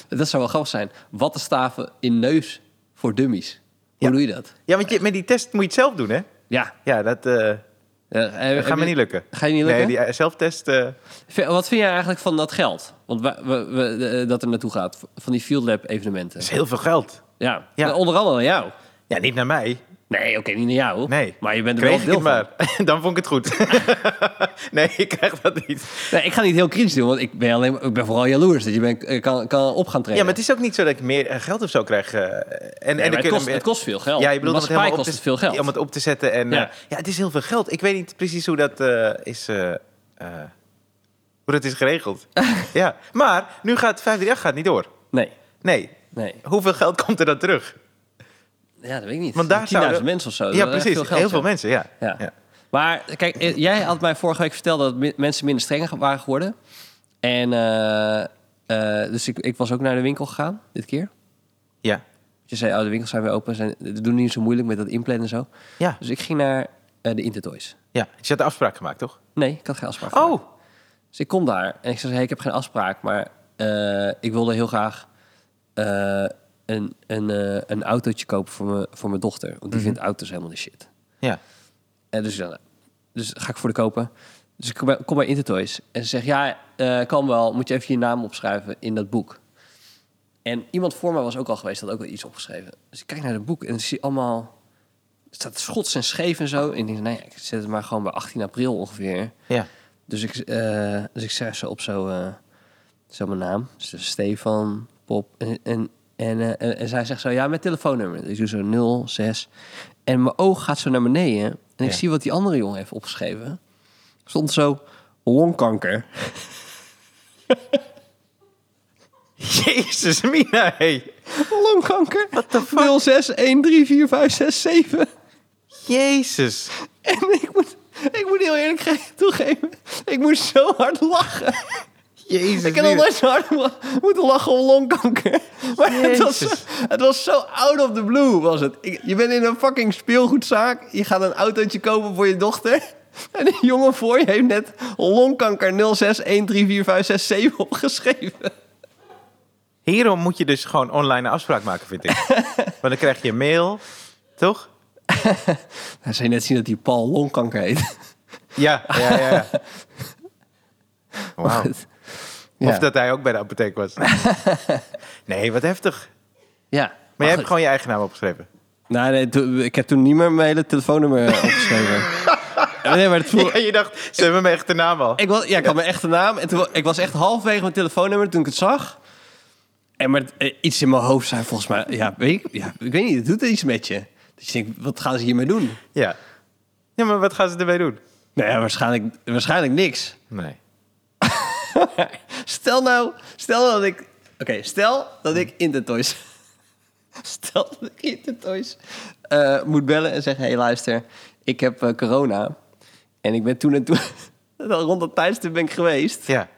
Speaker 2: Dat zou wel grappig zijn. Wattenstaven in neus voor dummies. Hoe
Speaker 1: Ja.
Speaker 2: doe je dat?
Speaker 1: Ja, want je, met die test moet je het zelf doen, hè?
Speaker 2: Ja.
Speaker 1: Ja, dat eh, dat gaat me niet lukken.
Speaker 2: Ga je niet lukken?
Speaker 1: Nee, die eh, zelftest... eh,
Speaker 2: lukken? Wat vind jij eigenlijk van dat geld? Want we, we, we- eh, dat er naartoe gaat. Van die Field Lab evenementen.
Speaker 1: is heel veel geld.
Speaker 2: Ja.
Speaker 1: Ja.
Speaker 2: Nou, Onder andere aan jou.
Speaker 1: Ja, niet naar mij.
Speaker 2: Nee, oké, niet naar jou.
Speaker 1: Nee.
Speaker 2: Maar je bent er wel
Speaker 1: Kreeg ik
Speaker 2: deel
Speaker 1: het
Speaker 2: van.
Speaker 1: maar. Dan vond ik het goed. nee, ik krijg dat niet.
Speaker 2: Nee, ik ga niet heel kritisch doen, want ik ben, alleen, maar- ik ben vooral jaloers dat je ben, eh, kan, kan op gaan
Speaker 1: Ja,
Speaker 2: trainen.
Speaker 1: maar het is ook niet zo dat ik meer eh, geld of zo krijg. eh, en,
Speaker 2: Nee,
Speaker 1: en
Speaker 2: maar
Speaker 1: ik
Speaker 2: het, kost, het kost veel geld.
Speaker 1: Ja, je bedoelt
Speaker 2: De
Speaker 1: om het helemaal
Speaker 2: maatschappij
Speaker 1: op
Speaker 2: kost
Speaker 1: te,
Speaker 2: het veel geld.
Speaker 1: Om het op te zetten. En,
Speaker 2: Ja.
Speaker 1: ja. ja, het is heel veel geld. Ik weet niet precies hoe dat eh, is... eh, eh, hoe dat is geregeld. ja. Maar nu gaat 538 gaat niet door.
Speaker 2: Nee,
Speaker 1: Nee.
Speaker 2: nee.
Speaker 1: Hoeveel geld komt er dan terug?
Speaker 2: Ja, dat weet ik niet.
Speaker 1: Want daar
Speaker 2: 10.000
Speaker 1: zouden-
Speaker 2: mensen of zo. dat
Speaker 1: ja,
Speaker 2: zou echt
Speaker 1: precies.
Speaker 2: Veel geld
Speaker 1: heel veel mensen,
Speaker 2: zijn.
Speaker 1: ja.
Speaker 2: Ja.
Speaker 1: Ja.
Speaker 2: Maar kijk, eh, jij had mij vorige week verteld dat mi- mensen minder streng ge- waren geworden. En eh, eh, dus ik, ik was ook naar de winkel gegaan dit keer.
Speaker 1: Ja.
Speaker 2: Je zei, oh, de winkels zijn weer open. Zijn, we doen niet zo moeilijk met dat inplannen en zo.
Speaker 1: Ja.
Speaker 2: Dus ik ging naar eh, de Intertoys.
Speaker 1: ja. Dus je had de afspraak gemaakt, toch?
Speaker 2: Nee, ik had geen afspraak. gemaakt.
Speaker 1: Oh,
Speaker 2: Dus ik kom daar en ik zei, hey, ik heb geen afspraak, maar eh, ik wilde heel graag eh, een, een, eh, een autootje kopen voor, me, voor mijn dochter. Want die vindt auto's helemaal de shit.
Speaker 1: ja.
Speaker 2: En dus, ik dacht, nou, dus ga ik voor de kopen. Dus ik kom bij, kom bij Intertoys en ze zegt, ja, eh, kan wel, moet je even je naam opschrijven in dat boek. En iemand voor mij was ook al geweest, had ook al iets opgeschreven. Dus ik kijk naar het boek en ik zie allemaal... Het staat schots en scheef en zo. En ik denk, nee, ik zet het maar gewoon bij 18 april ongeveer.
Speaker 1: Ja.
Speaker 2: Dus ik, eh, dus ik zeg ze op zo, eh, zo mijn naam. Dus de Stefan, Pop. En, en, en, eh, en, en zij zegt zo, ja, met telefoonnummer. Dus ik doe zo 06. En mijn oog gaat zo naar beneden. En ik
Speaker 1: Ja.
Speaker 2: zie wat die andere jongen heeft opgeschreven. Stond zo, longkanker.
Speaker 1: Jezus, Mina, hey.
Speaker 2: longkanker? What
Speaker 1: the
Speaker 2: 06 7
Speaker 1: Jezus.
Speaker 2: En ik moet, ik moet heel eerlijk ge- toegeven, ik moest zo hard lachen.
Speaker 1: Jezus.
Speaker 2: Ik heb nog
Speaker 1: Mina.
Speaker 2: nooit zo hard la- moeten lachen om longkanker. Maar het was, zo,
Speaker 1: Jezus.
Speaker 2: het was zo out of the blue, was het. Ik- je bent in een fucking speelgoedzaak. Je gaat een autootje kopen voor je dochter. En een jongen voor je heeft net longkanker 0613457 opgeschreven.
Speaker 1: Hierom moet je dus gewoon online een afspraak maken, vind ik. Want dan krijg je een mail, toch?
Speaker 2: Hij zei net zien dat die Paul longkanker heet.
Speaker 1: Ja, ja, ja. ja. Wauw. Of
Speaker 2: Ja.
Speaker 1: dat hij ook bij de apotheek was. Nee, wat heftig.
Speaker 2: Ja.
Speaker 1: Maar jij
Speaker 2: goed.
Speaker 1: hebt gewoon je eigen naam opgeschreven.
Speaker 2: Nee, nee, toen- ik heb toen niet meer mijn hele telefoonnummer eh, opgeschreven. nee, maar het voelde...
Speaker 1: Ja, je dacht, ze hebben mijn echte naam al.
Speaker 2: Ik was, ja, ik had mijn echte naam. En toen, wa- ik was echt halverwege mijn telefoonnummer toen ik het zag. En maar eh, iets in mijn hoofd zei volgens mij... Ja, weet ik, ja, ik weet niet, het doet iets met je. Dus je denkt, wat gaan ze hiermee doen?
Speaker 1: Ja. Ja, maar wat gaan ze ermee doen?
Speaker 2: Nou ja, waarschijnlijk, waarschijnlijk niks.
Speaker 1: Nee.
Speaker 2: Stel nou, stel dat ik... Oké, stel dat ik Intertoys... Stel dat ik Intertoys eh moet bellen en zeggen... Hé, hey, luister, ik heb eh, corona. En ik ben toen en toen... Rond dat tijdstip ben ik geweest.
Speaker 1: Ja.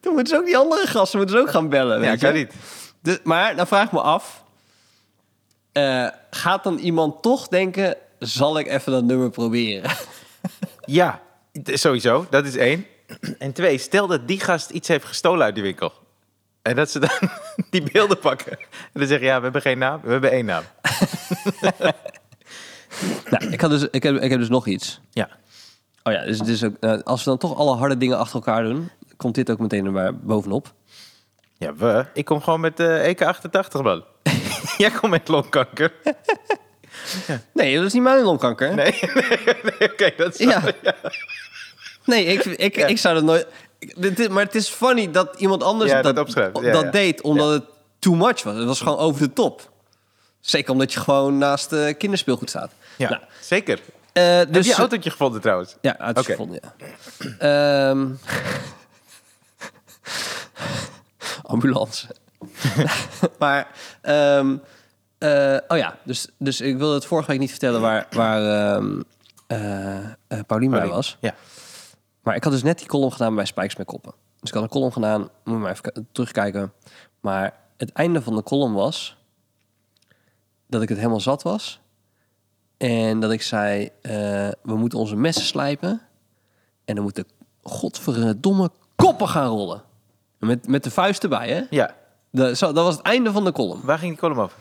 Speaker 2: Toen moeten ze ook die andere gasten moeten ze ook gaan bellen.
Speaker 1: Ja,
Speaker 2: weet
Speaker 1: kan
Speaker 2: je?
Speaker 1: niet.
Speaker 2: Dus, maar dan vraag ik me af... eh, gaat dan iemand toch denken... zal ik even dat nummer proberen?
Speaker 1: Ja, d- sowieso. Dat is één. En twee, stel dat die gast iets heeft gestolen uit die winkel. En dat ze dan die beelden pakken. En dan zeggen, ja, we hebben geen naam. We hebben één naam.
Speaker 2: nou, ik, had dus, ik, heb, ik heb dus nog iets.
Speaker 1: Ja.
Speaker 2: Oh ja, dus het is ook, nou, als we dan toch alle harde dingen achter elkaar doen... komt dit ook meteen er maar bovenop.
Speaker 1: Ja, we. Ik kom gewoon met eh EK88, man. Jij komt met longkanker.
Speaker 2: Nee, dat is niet mijn longkanker.
Speaker 1: Nee, nee, nee, oké, dat is...
Speaker 2: Ja. Nee, ik, ik, ik zou dat nooit... ik- dit is- maar het is funny dat iemand anders
Speaker 1: Ja, dat
Speaker 2: dat,
Speaker 1: opschrijft. Ja,
Speaker 2: dat
Speaker 1: ja.
Speaker 2: deed, omdat het too much was. Het was gewoon over de top. Zeker omdat je gewoon naast eh, kinderspeelgoed staat.
Speaker 1: Ja,
Speaker 2: Nou,
Speaker 1: zeker.
Speaker 2: eh,
Speaker 1: Heb
Speaker 2: dus,
Speaker 1: je autootje gevonden trouwens?
Speaker 2: Ja, uitgevonden, ja. Ehm, ambulance. maar, ehm, eh, oh ja, dus, dus ik wilde het vorige week niet vertellen waar, waar ehm eh, eh, Paulien bij was.
Speaker 1: Ja.
Speaker 2: Maar ik had dus net die column gedaan bij Spijks met Koppen. Dus ik had een column gedaan, moet maar even k- terugkijken. Maar het einde van de column was dat ik het helemaal zat was. En dat ik zei, eh, we moeten onze messen slijpen. En dan moeten godverdomme koppen gaan rollen. Met, met de vuist erbij, hè?
Speaker 1: ja.
Speaker 2: De- zo, dat was het einde van de column.
Speaker 1: Waar ging die column over?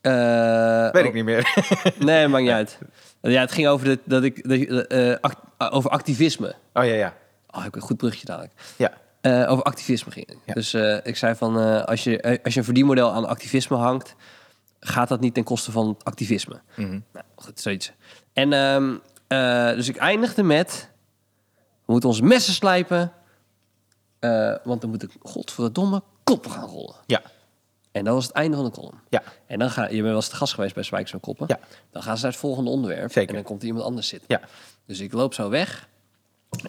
Speaker 2: Eh,
Speaker 1: Weet ik niet meer.
Speaker 2: Nee, maakt niet uit. Ja, het ging over, dat dat ik, dat, eh, act- over activisme.
Speaker 1: Oh ja, ja.
Speaker 2: Oh, ik heb een goed brugje dadelijk.
Speaker 1: Ja.
Speaker 2: Eh, over activisme ging het.
Speaker 1: Ja.
Speaker 2: Dus eh, ik zei van, eh, als, je, eh, als je een verdienmodel aan activisme hangt, gaat dat niet ten koste van het activisme. Nou, goed, zoiets. En ehm, eh, dus ik eindigde met, we moeten onze messen slijpen, eh, want dan moet ik godverdomme kop gaan rollen.
Speaker 1: Ja.
Speaker 2: En dat was het einde van de column.
Speaker 1: Ja.
Speaker 2: En dan ga je bent wel eens te gast geweest bij Spijkers en Koppen.
Speaker 1: Ja.
Speaker 2: Dan gaan ze naar het volgende onderwerp.
Speaker 1: Zeker.
Speaker 2: En dan komt er iemand anders zitten.
Speaker 1: Ja.
Speaker 2: Dus ik loop zo weg.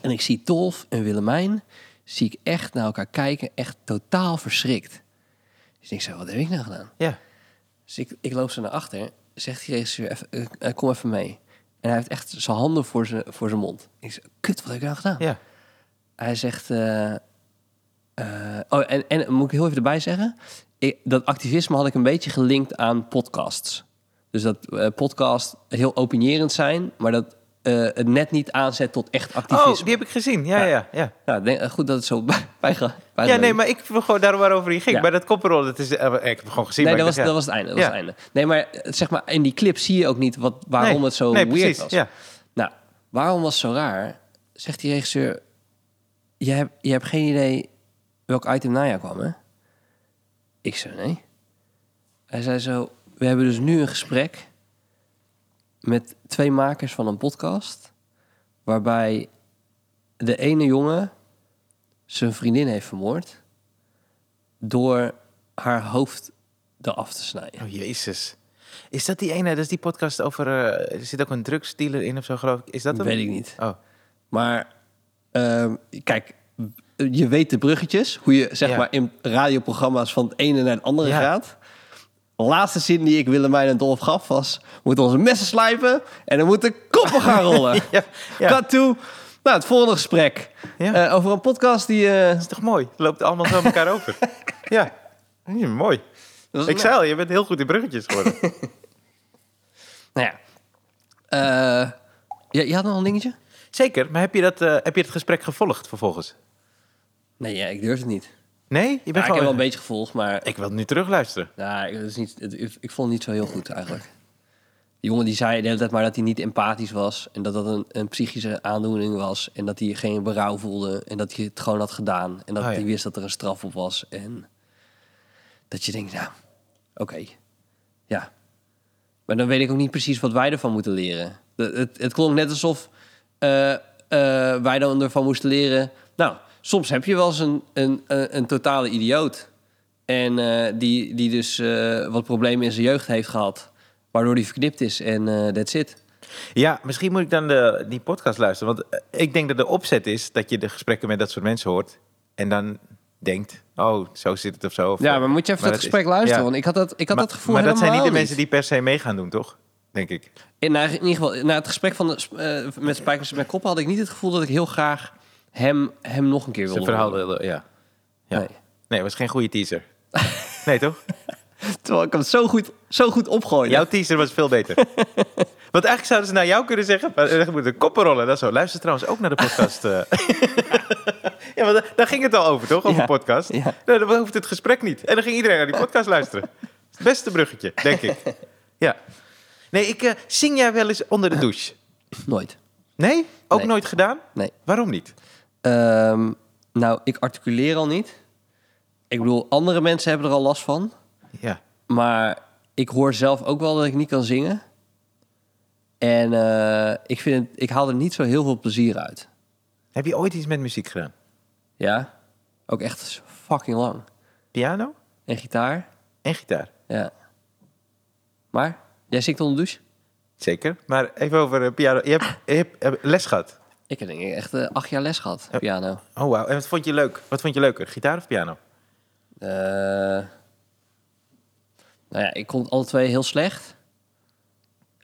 Speaker 2: En ik zie Tolf en Willemijn. Zie ik echt naar elkaar kijken. Echt totaal verschrikt. Dus ik zeg, wat heb ik nou gedaan?
Speaker 1: Ja.
Speaker 2: Dus ik, ik loop ze naar achter. Zegt die regisseur, even, eh, eh, kom even mee. En hij heeft echt zijn handen voor zijn, voor zijn mond. Ik zeg, kut, wat heb ik nou gedaan?
Speaker 1: Ja.
Speaker 2: Hij zegt. eh, eh, oh, en, en moet ik heel even erbij zeggen. Ik, dat activisme had ik een beetje gelinkt aan podcasts. Dus dat eh, podcasts heel opinierend zijn, maar dat eh, het net niet aanzet tot echt activisme.
Speaker 1: Oh, die heb ik gezien. Ja, ja, ja.
Speaker 2: Nou, ik denk, eh, goed dat het zo bij, bijge-
Speaker 1: Ja,
Speaker 2: bijgelegd
Speaker 1: nee, maar ik wil gewoon daar waarover je ging.
Speaker 2: Ja.
Speaker 1: Bij dat koppenrol, dat is, eh, ik heb hem gewoon gezien.
Speaker 2: Nee,
Speaker 1: maar
Speaker 2: dat
Speaker 1: ik
Speaker 2: was, dat
Speaker 1: dacht,
Speaker 2: was het einde. Dat was
Speaker 1: Ja.
Speaker 2: het einde. Nee, maar eh, zeg maar, in die clip zie je ook niet wat, waarom
Speaker 1: Nee,
Speaker 2: het zo
Speaker 1: nee,
Speaker 2: weird
Speaker 1: precies,
Speaker 2: was.
Speaker 1: ja.
Speaker 2: Nou, waarom was het zo raar? Zegt die regisseur, je hebt, je hebt geen idee welk item na jou kwam, hè? Ik zei, nee. Hij zei zo, we hebben dus nu een gesprek met twee makers van een podcast... waarbij de ene jongen zijn vriendin heeft vermoord... door haar hoofd eraf te snijden.
Speaker 1: ja. Oh, jezus. Is dat die ene, dat is die podcast over, eh, er zit ook een drugsdealer in of zo, geloof ik. Is dat hem?
Speaker 2: Weet ik niet.
Speaker 1: Oh,
Speaker 2: Maar ehm, kijk, je weet de bruggetjes. Hoe je zeg
Speaker 1: Ja.
Speaker 2: maar in radioprogramma's van het ene naar het andere
Speaker 1: Ja.
Speaker 2: gaat. Laatste zin die ik Willemijn en Dolf gaf was... we moeten onze messen slijpen en dan moeten koppen gaan rollen.
Speaker 1: Ja, ja.
Speaker 2: Cut to, nou, het volgende gesprek.
Speaker 1: Ja.
Speaker 2: Eh, over een podcast die... eh,
Speaker 1: dat is toch mooi? Het loopt allemaal zo elkaar over. Ja. Hm, mooi.
Speaker 2: was-
Speaker 1: Ik zei al, je bent heel goed in bruggetjes geworden.
Speaker 2: nou ja. Eh, je, je had nog een dingetje?
Speaker 1: Zeker, maar heb je, dat, eh, heb je het gesprek gevolgd vervolgens?
Speaker 2: Nee, ja, ik durf het niet.
Speaker 1: Nee? Je bent
Speaker 2: Ja, ik
Speaker 1: gewoon...
Speaker 2: heb wel een beetje gevolgd, maar...
Speaker 1: Ik wil het nu terugluisteren.
Speaker 2: Nou, ik, dat is niet, het- ik, ik vond het niet zo heel goed eigenlijk. Die jongen die zei de hele tijd maar dat hij niet empathisch was. En dat dat een, een psychische aandoening was. En dat hij geen berouw voelde. En dat hij het gewoon had gedaan. En dat
Speaker 1: Oh ja.
Speaker 2: hij wist dat er een straf op was. En dat je denkt, nou, oké. Ja. Maar dan weet ik ook niet precies wat wij ervan moeten leren. Het, het, het klonk net alsof eh, eh, wij dan ervan moesten leren. Nou, soms heb je wel eens een, een, een, een totale idioot. En eh, die, die dus eh, wat problemen in zijn jeugd heeft gehad. Waardoor die verknipt is en eh that's it.
Speaker 1: Ja, misschien moet ik dan de, die podcast luisteren. Want eh, ik denk dat de opzet is dat je de gesprekken met dat soort mensen hoort. En dan denkt, oh, zo zit het of zo. Of-
Speaker 2: Ja, maar moet je even dat,
Speaker 1: is-
Speaker 2: gesprek luisteren?
Speaker 1: ja.
Speaker 2: Want ik had dat, ik had
Speaker 1: maar,
Speaker 2: dat gevoel
Speaker 1: Maar dat zijn niet de
Speaker 2: helemaal
Speaker 1: mensen die per se mee gaan doen, toch? Denk ik.
Speaker 2: In, nou, in ieder geval, na het gesprek van de, sp- eh, met Spijkers met Koppen had ik niet het gevoel dat ik heel graag hem, hem nog een keer
Speaker 1: Zijn
Speaker 2: wilden
Speaker 1: verhaal
Speaker 2: horen.
Speaker 1: wilde, ja. ja.
Speaker 2: Nee.
Speaker 1: Nee. nee, was geen goede teaser. nee, toch?
Speaker 2: Terwijl ik hem zo goed, zo goed opgooide.
Speaker 1: Jouw teaser was veel beter. Want eigenlijk zouden ze naar jou kunnen zeggen, maar ze moeten koppen rollen. Dat is zo. Luister trouwens ook naar de podcast. eh. ja, want daar- daar ging het al over, toch? Over
Speaker 2: Ja.
Speaker 1: podcast.
Speaker 2: Ja.
Speaker 1: Nou, dan hoeft het gesprek niet. En dan ging iedereen naar die podcast luisteren. Het beste bruggetje, denk ik. Ja. Nee, ik eh, zing jij wel eens onder de douche?
Speaker 2: Nooit.
Speaker 1: Nee? Ook
Speaker 2: Nee.
Speaker 1: nooit gedaan?
Speaker 2: Nee.
Speaker 1: Waarom niet?
Speaker 2: Ehm, nou, ik articuleer al niet. Ik bedoel, andere mensen hebben er al last van.
Speaker 1: Ja.
Speaker 2: Maar ik hoor zelf ook wel dat ik niet kan zingen. En eh, ik, vind het, ik haal er niet zo heel veel plezier uit.
Speaker 1: Heb je ooit iets met muziek gedaan?
Speaker 2: Ja? Ook echt fucking lang.
Speaker 1: Piano
Speaker 2: En gitaar?
Speaker 1: en gitaar.
Speaker 2: Ja. Maar? Jij zingt onder de douche?
Speaker 1: Zeker. Maar even over eh, piano. Je hebt, je hebt eh, les gehad.
Speaker 2: Ik heb denk ik echt eh, acht jaar les gehad, piano.
Speaker 1: Oh, wauw. En wat vond je leuk? Wat vond je leuker, gitaar of piano?
Speaker 2: Eh, nou ja, ik kon alle twee heel slecht.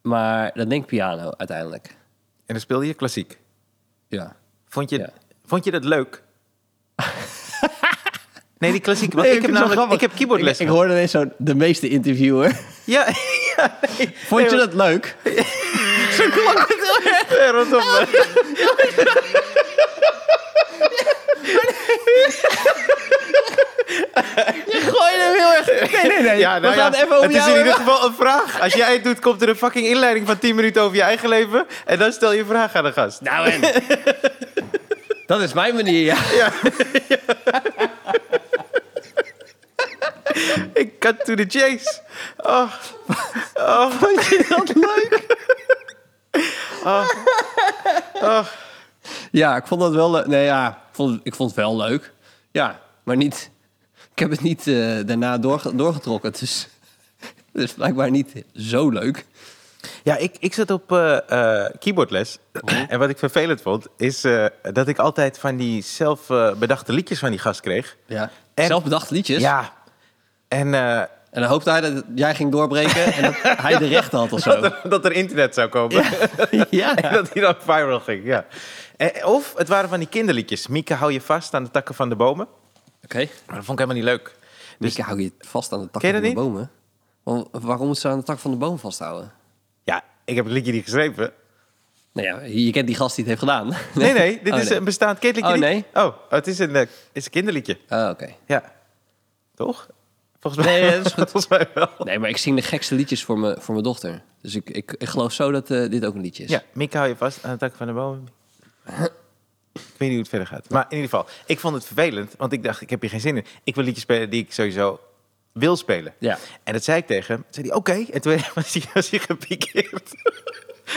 Speaker 2: Maar dan denk ik piano uiteindelijk.
Speaker 1: En dan speelde je klassiek.
Speaker 2: Ja.
Speaker 1: Vond je,
Speaker 2: Ja.
Speaker 1: vond je dat leuk? nee, die klassiek. want
Speaker 2: Nee,
Speaker 1: ik, heb
Speaker 2: vind het
Speaker 1: namelijk,
Speaker 2: zo
Speaker 1: ik
Speaker 2: grappig.
Speaker 1: heb keyboardles.
Speaker 2: Ik, ik
Speaker 1: gehad.
Speaker 2: hoorde ineens zo de meeste interviewer.
Speaker 1: Ja, ja nee.
Speaker 2: Vond je dat leuk? zo klonk het wel.
Speaker 1: Nee, rondom.
Speaker 2: eh. Je gooide hem heel erg. Nee, nee, nee.
Speaker 1: Ja, nou
Speaker 2: We gaan
Speaker 1: ja,
Speaker 2: even over
Speaker 1: het is
Speaker 2: jou
Speaker 1: in ieder
Speaker 2: hebben.
Speaker 1: geval een vraag. Als jij het doet, komt er een fucking inleiding van 10 minuten over je eigen leven. En dan stel je een vraag aan de gast.
Speaker 2: Nou en. Dat is mijn manier, ja.
Speaker 1: Ik cut to the chase. Oh. Oh.
Speaker 2: Vond je dat leuk? Ja, ik vond dat wel leuk. Nee, ja, ik vond, ik vond het wel leuk. Ja, maar niet... Ik heb het niet eh, daarna doorge- doorgetrokken, dus... Het is blijkbaar niet zo leuk.
Speaker 1: Ja, ik, ik zat op eh, eh, keyboardles. en wat ik vervelend vond, is eh, dat ik altijd van die zelfbedachte bedachte liedjes van die gast kreeg.
Speaker 2: Ja.
Speaker 1: En-
Speaker 2: Zelfbedacht liedjes.
Speaker 1: Ja. En eh,
Speaker 2: En dan hoopte hij dat jij ging doorbreken en dat hij de recht had of
Speaker 1: dat,
Speaker 2: zo.
Speaker 1: er, dat er internet zou komen.
Speaker 2: Ja.
Speaker 1: en dat die dan viral ging, ja. En- of het waren van die kinderliedjes. Mieke, hou je vast aan de takken van de bomen.
Speaker 2: Oké.
Speaker 1: Maar dat vond ik helemaal niet leuk.
Speaker 2: Dus ik hou je vast aan de tak
Speaker 1: Ken
Speaker 2: van
Speaker 1: je
Speaker 2: de
Speaker 1: dat
Speaker 2: bomen. Wa- Waarom moet ze aan de tak van de boom vasthouden?
Speaker 1: Ja, ik heb het liedje niet geschreven.
Speaker 2: Nou ja, je kent die gast die het heeft gedaan.
Speaker 1: Nee, nee, dit
Speaker 2: Oh,
Speaker 1: is
Speaker 2: nee.
Speaker 1: een bestaand kinderliedje.
Speaker 2: Oh,
Speaker 1: niet- Oh, het is een, eh, is een kinderliedje.
Speaker 2: Ah, oké.
Speaker 1: Ja. Toch? Volgens mij,
Speaker 2: Nee, dat is goed.
Speaker 1: Volgens mij wel.
Speaker 2: Nee, maar ik zing de gekste liedjes voor, me, voor mijn dochter. Dus ik, ik, ik geloof zo dat eh, dit ook een liedje is.
Speaker 1: Ja, Mieke hou je vast aan de tak van de boom. Ik weet niet hoe het verder gaat. Maar in ieder geval, ik vond het vervelend, want ik dacht, ik heb hier geen zin in. Ik wil liedjes spelen die ik sowieso wil spelen.
Speaker 2: Ja.
Speaker 1: En dat zei ik tegen hem. Toen zei hij, oké. En toen was hij, was hij gepikeerd.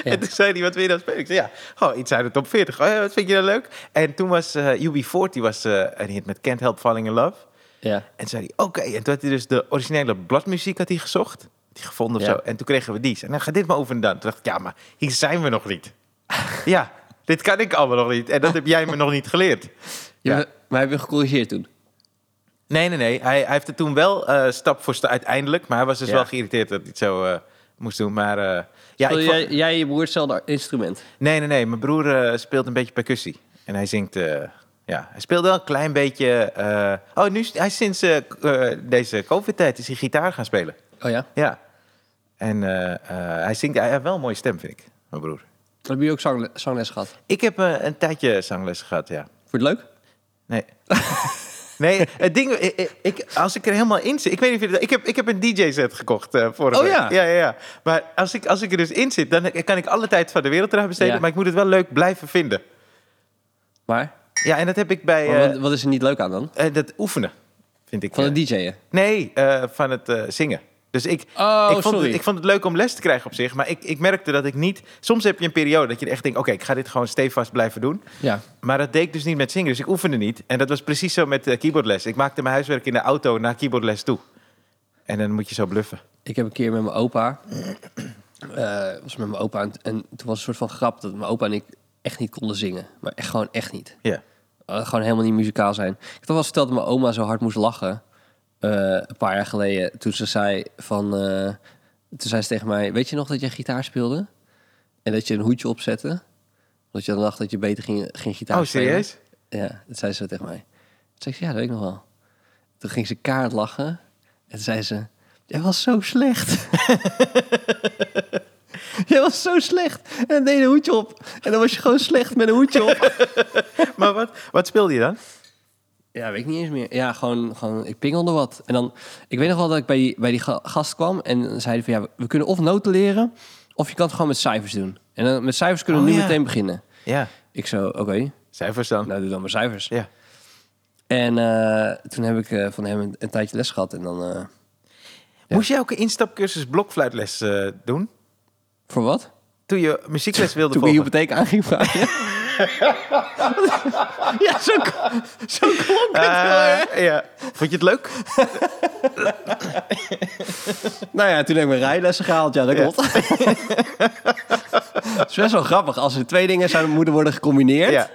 Speaker 1: En toen zei hij, wat wil je dan spelen? Ik zei, ja, oh, iets uit de top 40. Oh, ja, wat vind je dan leuk? En toen was eh, UB40 was, eh, een hit met Can't Help Falling In Love.
Speaker 2: Ja.
Speaker 1: En toen zei hij, oké. En toen had hij dus de originele bladmuziek had hij gezocht. Had hij gevonden of
Speaker 2: Ja.
Speaker 1: zo. En toen kregen we die. En dan gaat dit maar over en dan. Toen dacht ik, ja, maar hier zijn we nog niet. ja, dit kan ik allemaal nog niet. En dat heb jij me nog niet geleerd.
Speaker 2: Je-
Speaker 1: Ja.
Speaker 2: Maar heb je gecorrigeerd toen?
Speaker 1: Nee, nee, nee. Hij, hij heeft het toen wel eh, stap voor stap uiteindelijk. Maar hij was dus
Speaker 2: Ja.
Speaker 1: wel geïrriteerd dat hij het zo eh, moest doen. Maar eh, ja, ik
Speaker 2: Wil
Speaker 1: vond-
Speaker 2: jij, jij en je broer hetzelfde instrument?
Speaker 1: Nee, nee, nee. Mijn broer eh, speelt een beetje percussie. En hij zingt... eh, ja, hij speelde wel een klein beetje... eh, oh, nu, is- hij is sinds eh, k- eh, deze covid-tijd is hij gitaar gaan spelen.
Speaker 2: Oh ja?
Speaker 1: Ja. En eh, eh, hij zingt, hij heeft wel een mooie stem, vind ik, mijn broer.
Speaker 2: Heb je ook zangle- zangles gehad?
Speaker 1: Ik heb eh, een tijdje zangles gehad, ja.
Speaker 2: Vond je het leuk?
Speaker 1: Nee. nee, het ding, ik, ik- als ik er helemaal in zit, ik weet niet of je dat, ik heb, ik heb een DJ-set gekocht eh vorige
Speaker 2: Oh,
Speaker 1: week.
Speaker 2: ja?
Speaker 1: Ja, ja, ja. Maar als ik, als ik er dus in zit, dan kan ik alle tijd van de wereld eraan besteden,
Speaker 2: Ja.
Speaker 1: maar ik moet het wel leuk blijven vinden.
Speaker 2: Maar?
Speaker 1: Ja, en dat heb ik bij,
Speaker 2: Maar
Speaker 1: eh,
Speaker 2: wat, wat is er niet leuk aan dan?
Speaker 1: eh, dat oefenen, vind ik.
Speaker 2: Van
Speaker 1: eh,
Speaker 2: het DJ'en?
Speaker 1: Nee, eh, van het eh, zingen. Dus ik,
Speaker 2: Oh,
Speaker 1: ik, vond
Speaker 2: sorry.
Speaker 1: het, ik vond het leuk om les te krijgen op zich. Maar ik, ik merkte dat ik niet... Soms heb je een periode dat je echt denkt... oké, ik ga dit gewoon stevast blijven doen.
Speaker 2: Ja.
Speaker 1: Maar dat deed ik dus niet met zingen. Dus ik oefende niet. En dat was precies zo met eh, keyboardles. Ik maakte mijn huiswerk in de auto naar keyboardles toe. En dan moet je zo bluffen.
Speaker 2: Ik heb een keer met mijn opa. eh, was met mijn opa. En, en toen was een soort van grap dat mijn opa en ik echt niet konden zingen. Maar echt gewoon echt niet.
Speaker 1: Ja.
Speaker 2: Eh, gewoon helemaal niet muzikaal zijn. Ik had al wel eens verteld dat mijn oma zo hard moest lachen. eh, een paar jaar geleden. Toen ze zei van. eh, toen zei ze tegen mij: Weet je nog dat jij gitaar speelde? En dat je een hoedje opzette? Dat je dan dacht dat je beter ging, ging gitaar
Speaker 1: Oh,
Speaker 2: spelen.
Speaker 1: serieus?
Speaker 2: Ja, dat zei ze tegen mij. Toen zei ze, ja, dat weet ik nog wel. Toen ging ze kaart lachen. En toen zei ze, jij was zo slecht. jij was zo slecht. En dan deed je een hoedje op. En dan was je gewoon slecht met een hoedje op.
Speaker 1: Maar wat, wat speelde je dan?
Speaker 2: Ja, weet ik niet eens meer. Ja, gewoon, gewoon ik pingelde wat. En dan, ik weet nog wel dat ik bij die, bij die ga- gast kwam en dan zei hij van ja, we- we kunnen of noten leren, of je kan het gewoon met cijfers doen. En dan, met cijfers kunnen we
Speaker 1: Oh,
Speaker 2: nu
Speaker 1: ja.
Speaker 2: meteen beginnen.
Speaker 1: Ja,
Speaker 2: Ik zo, oké,
Speaker 1: cijfers dan.
Speaker 2: nou doe dan maar cijfers.
Speaker 1: Ja.
Speaker 2: En eh, toen heb ik eh, van hem een, een tijdje les gehad en dan, eh,
Speaker 1: Moest jij ook een instapcursus blokfluitles eh, doen?
Speaker 2: voor wat?
Speaker 1: Toen je muziekles wilde
Speaker 2: Toen ik je
Speaker 1: volgen?
Speaker 2: hypotheek aan ging vragen. ja, zo, zo klonk het wel, hè?
Speaker 1: Eh, ja. Vond je het leuk?
Speaker 2: Nou ja, toen heb ik mijn rijlessen gehaald. Ja, dat
Speaker 1: Ja.
Speaker 2: klopt. Het is best wel grappig. Als er twee dingen zouden moeten worden gecombineerd...
Speaker 1: Ja.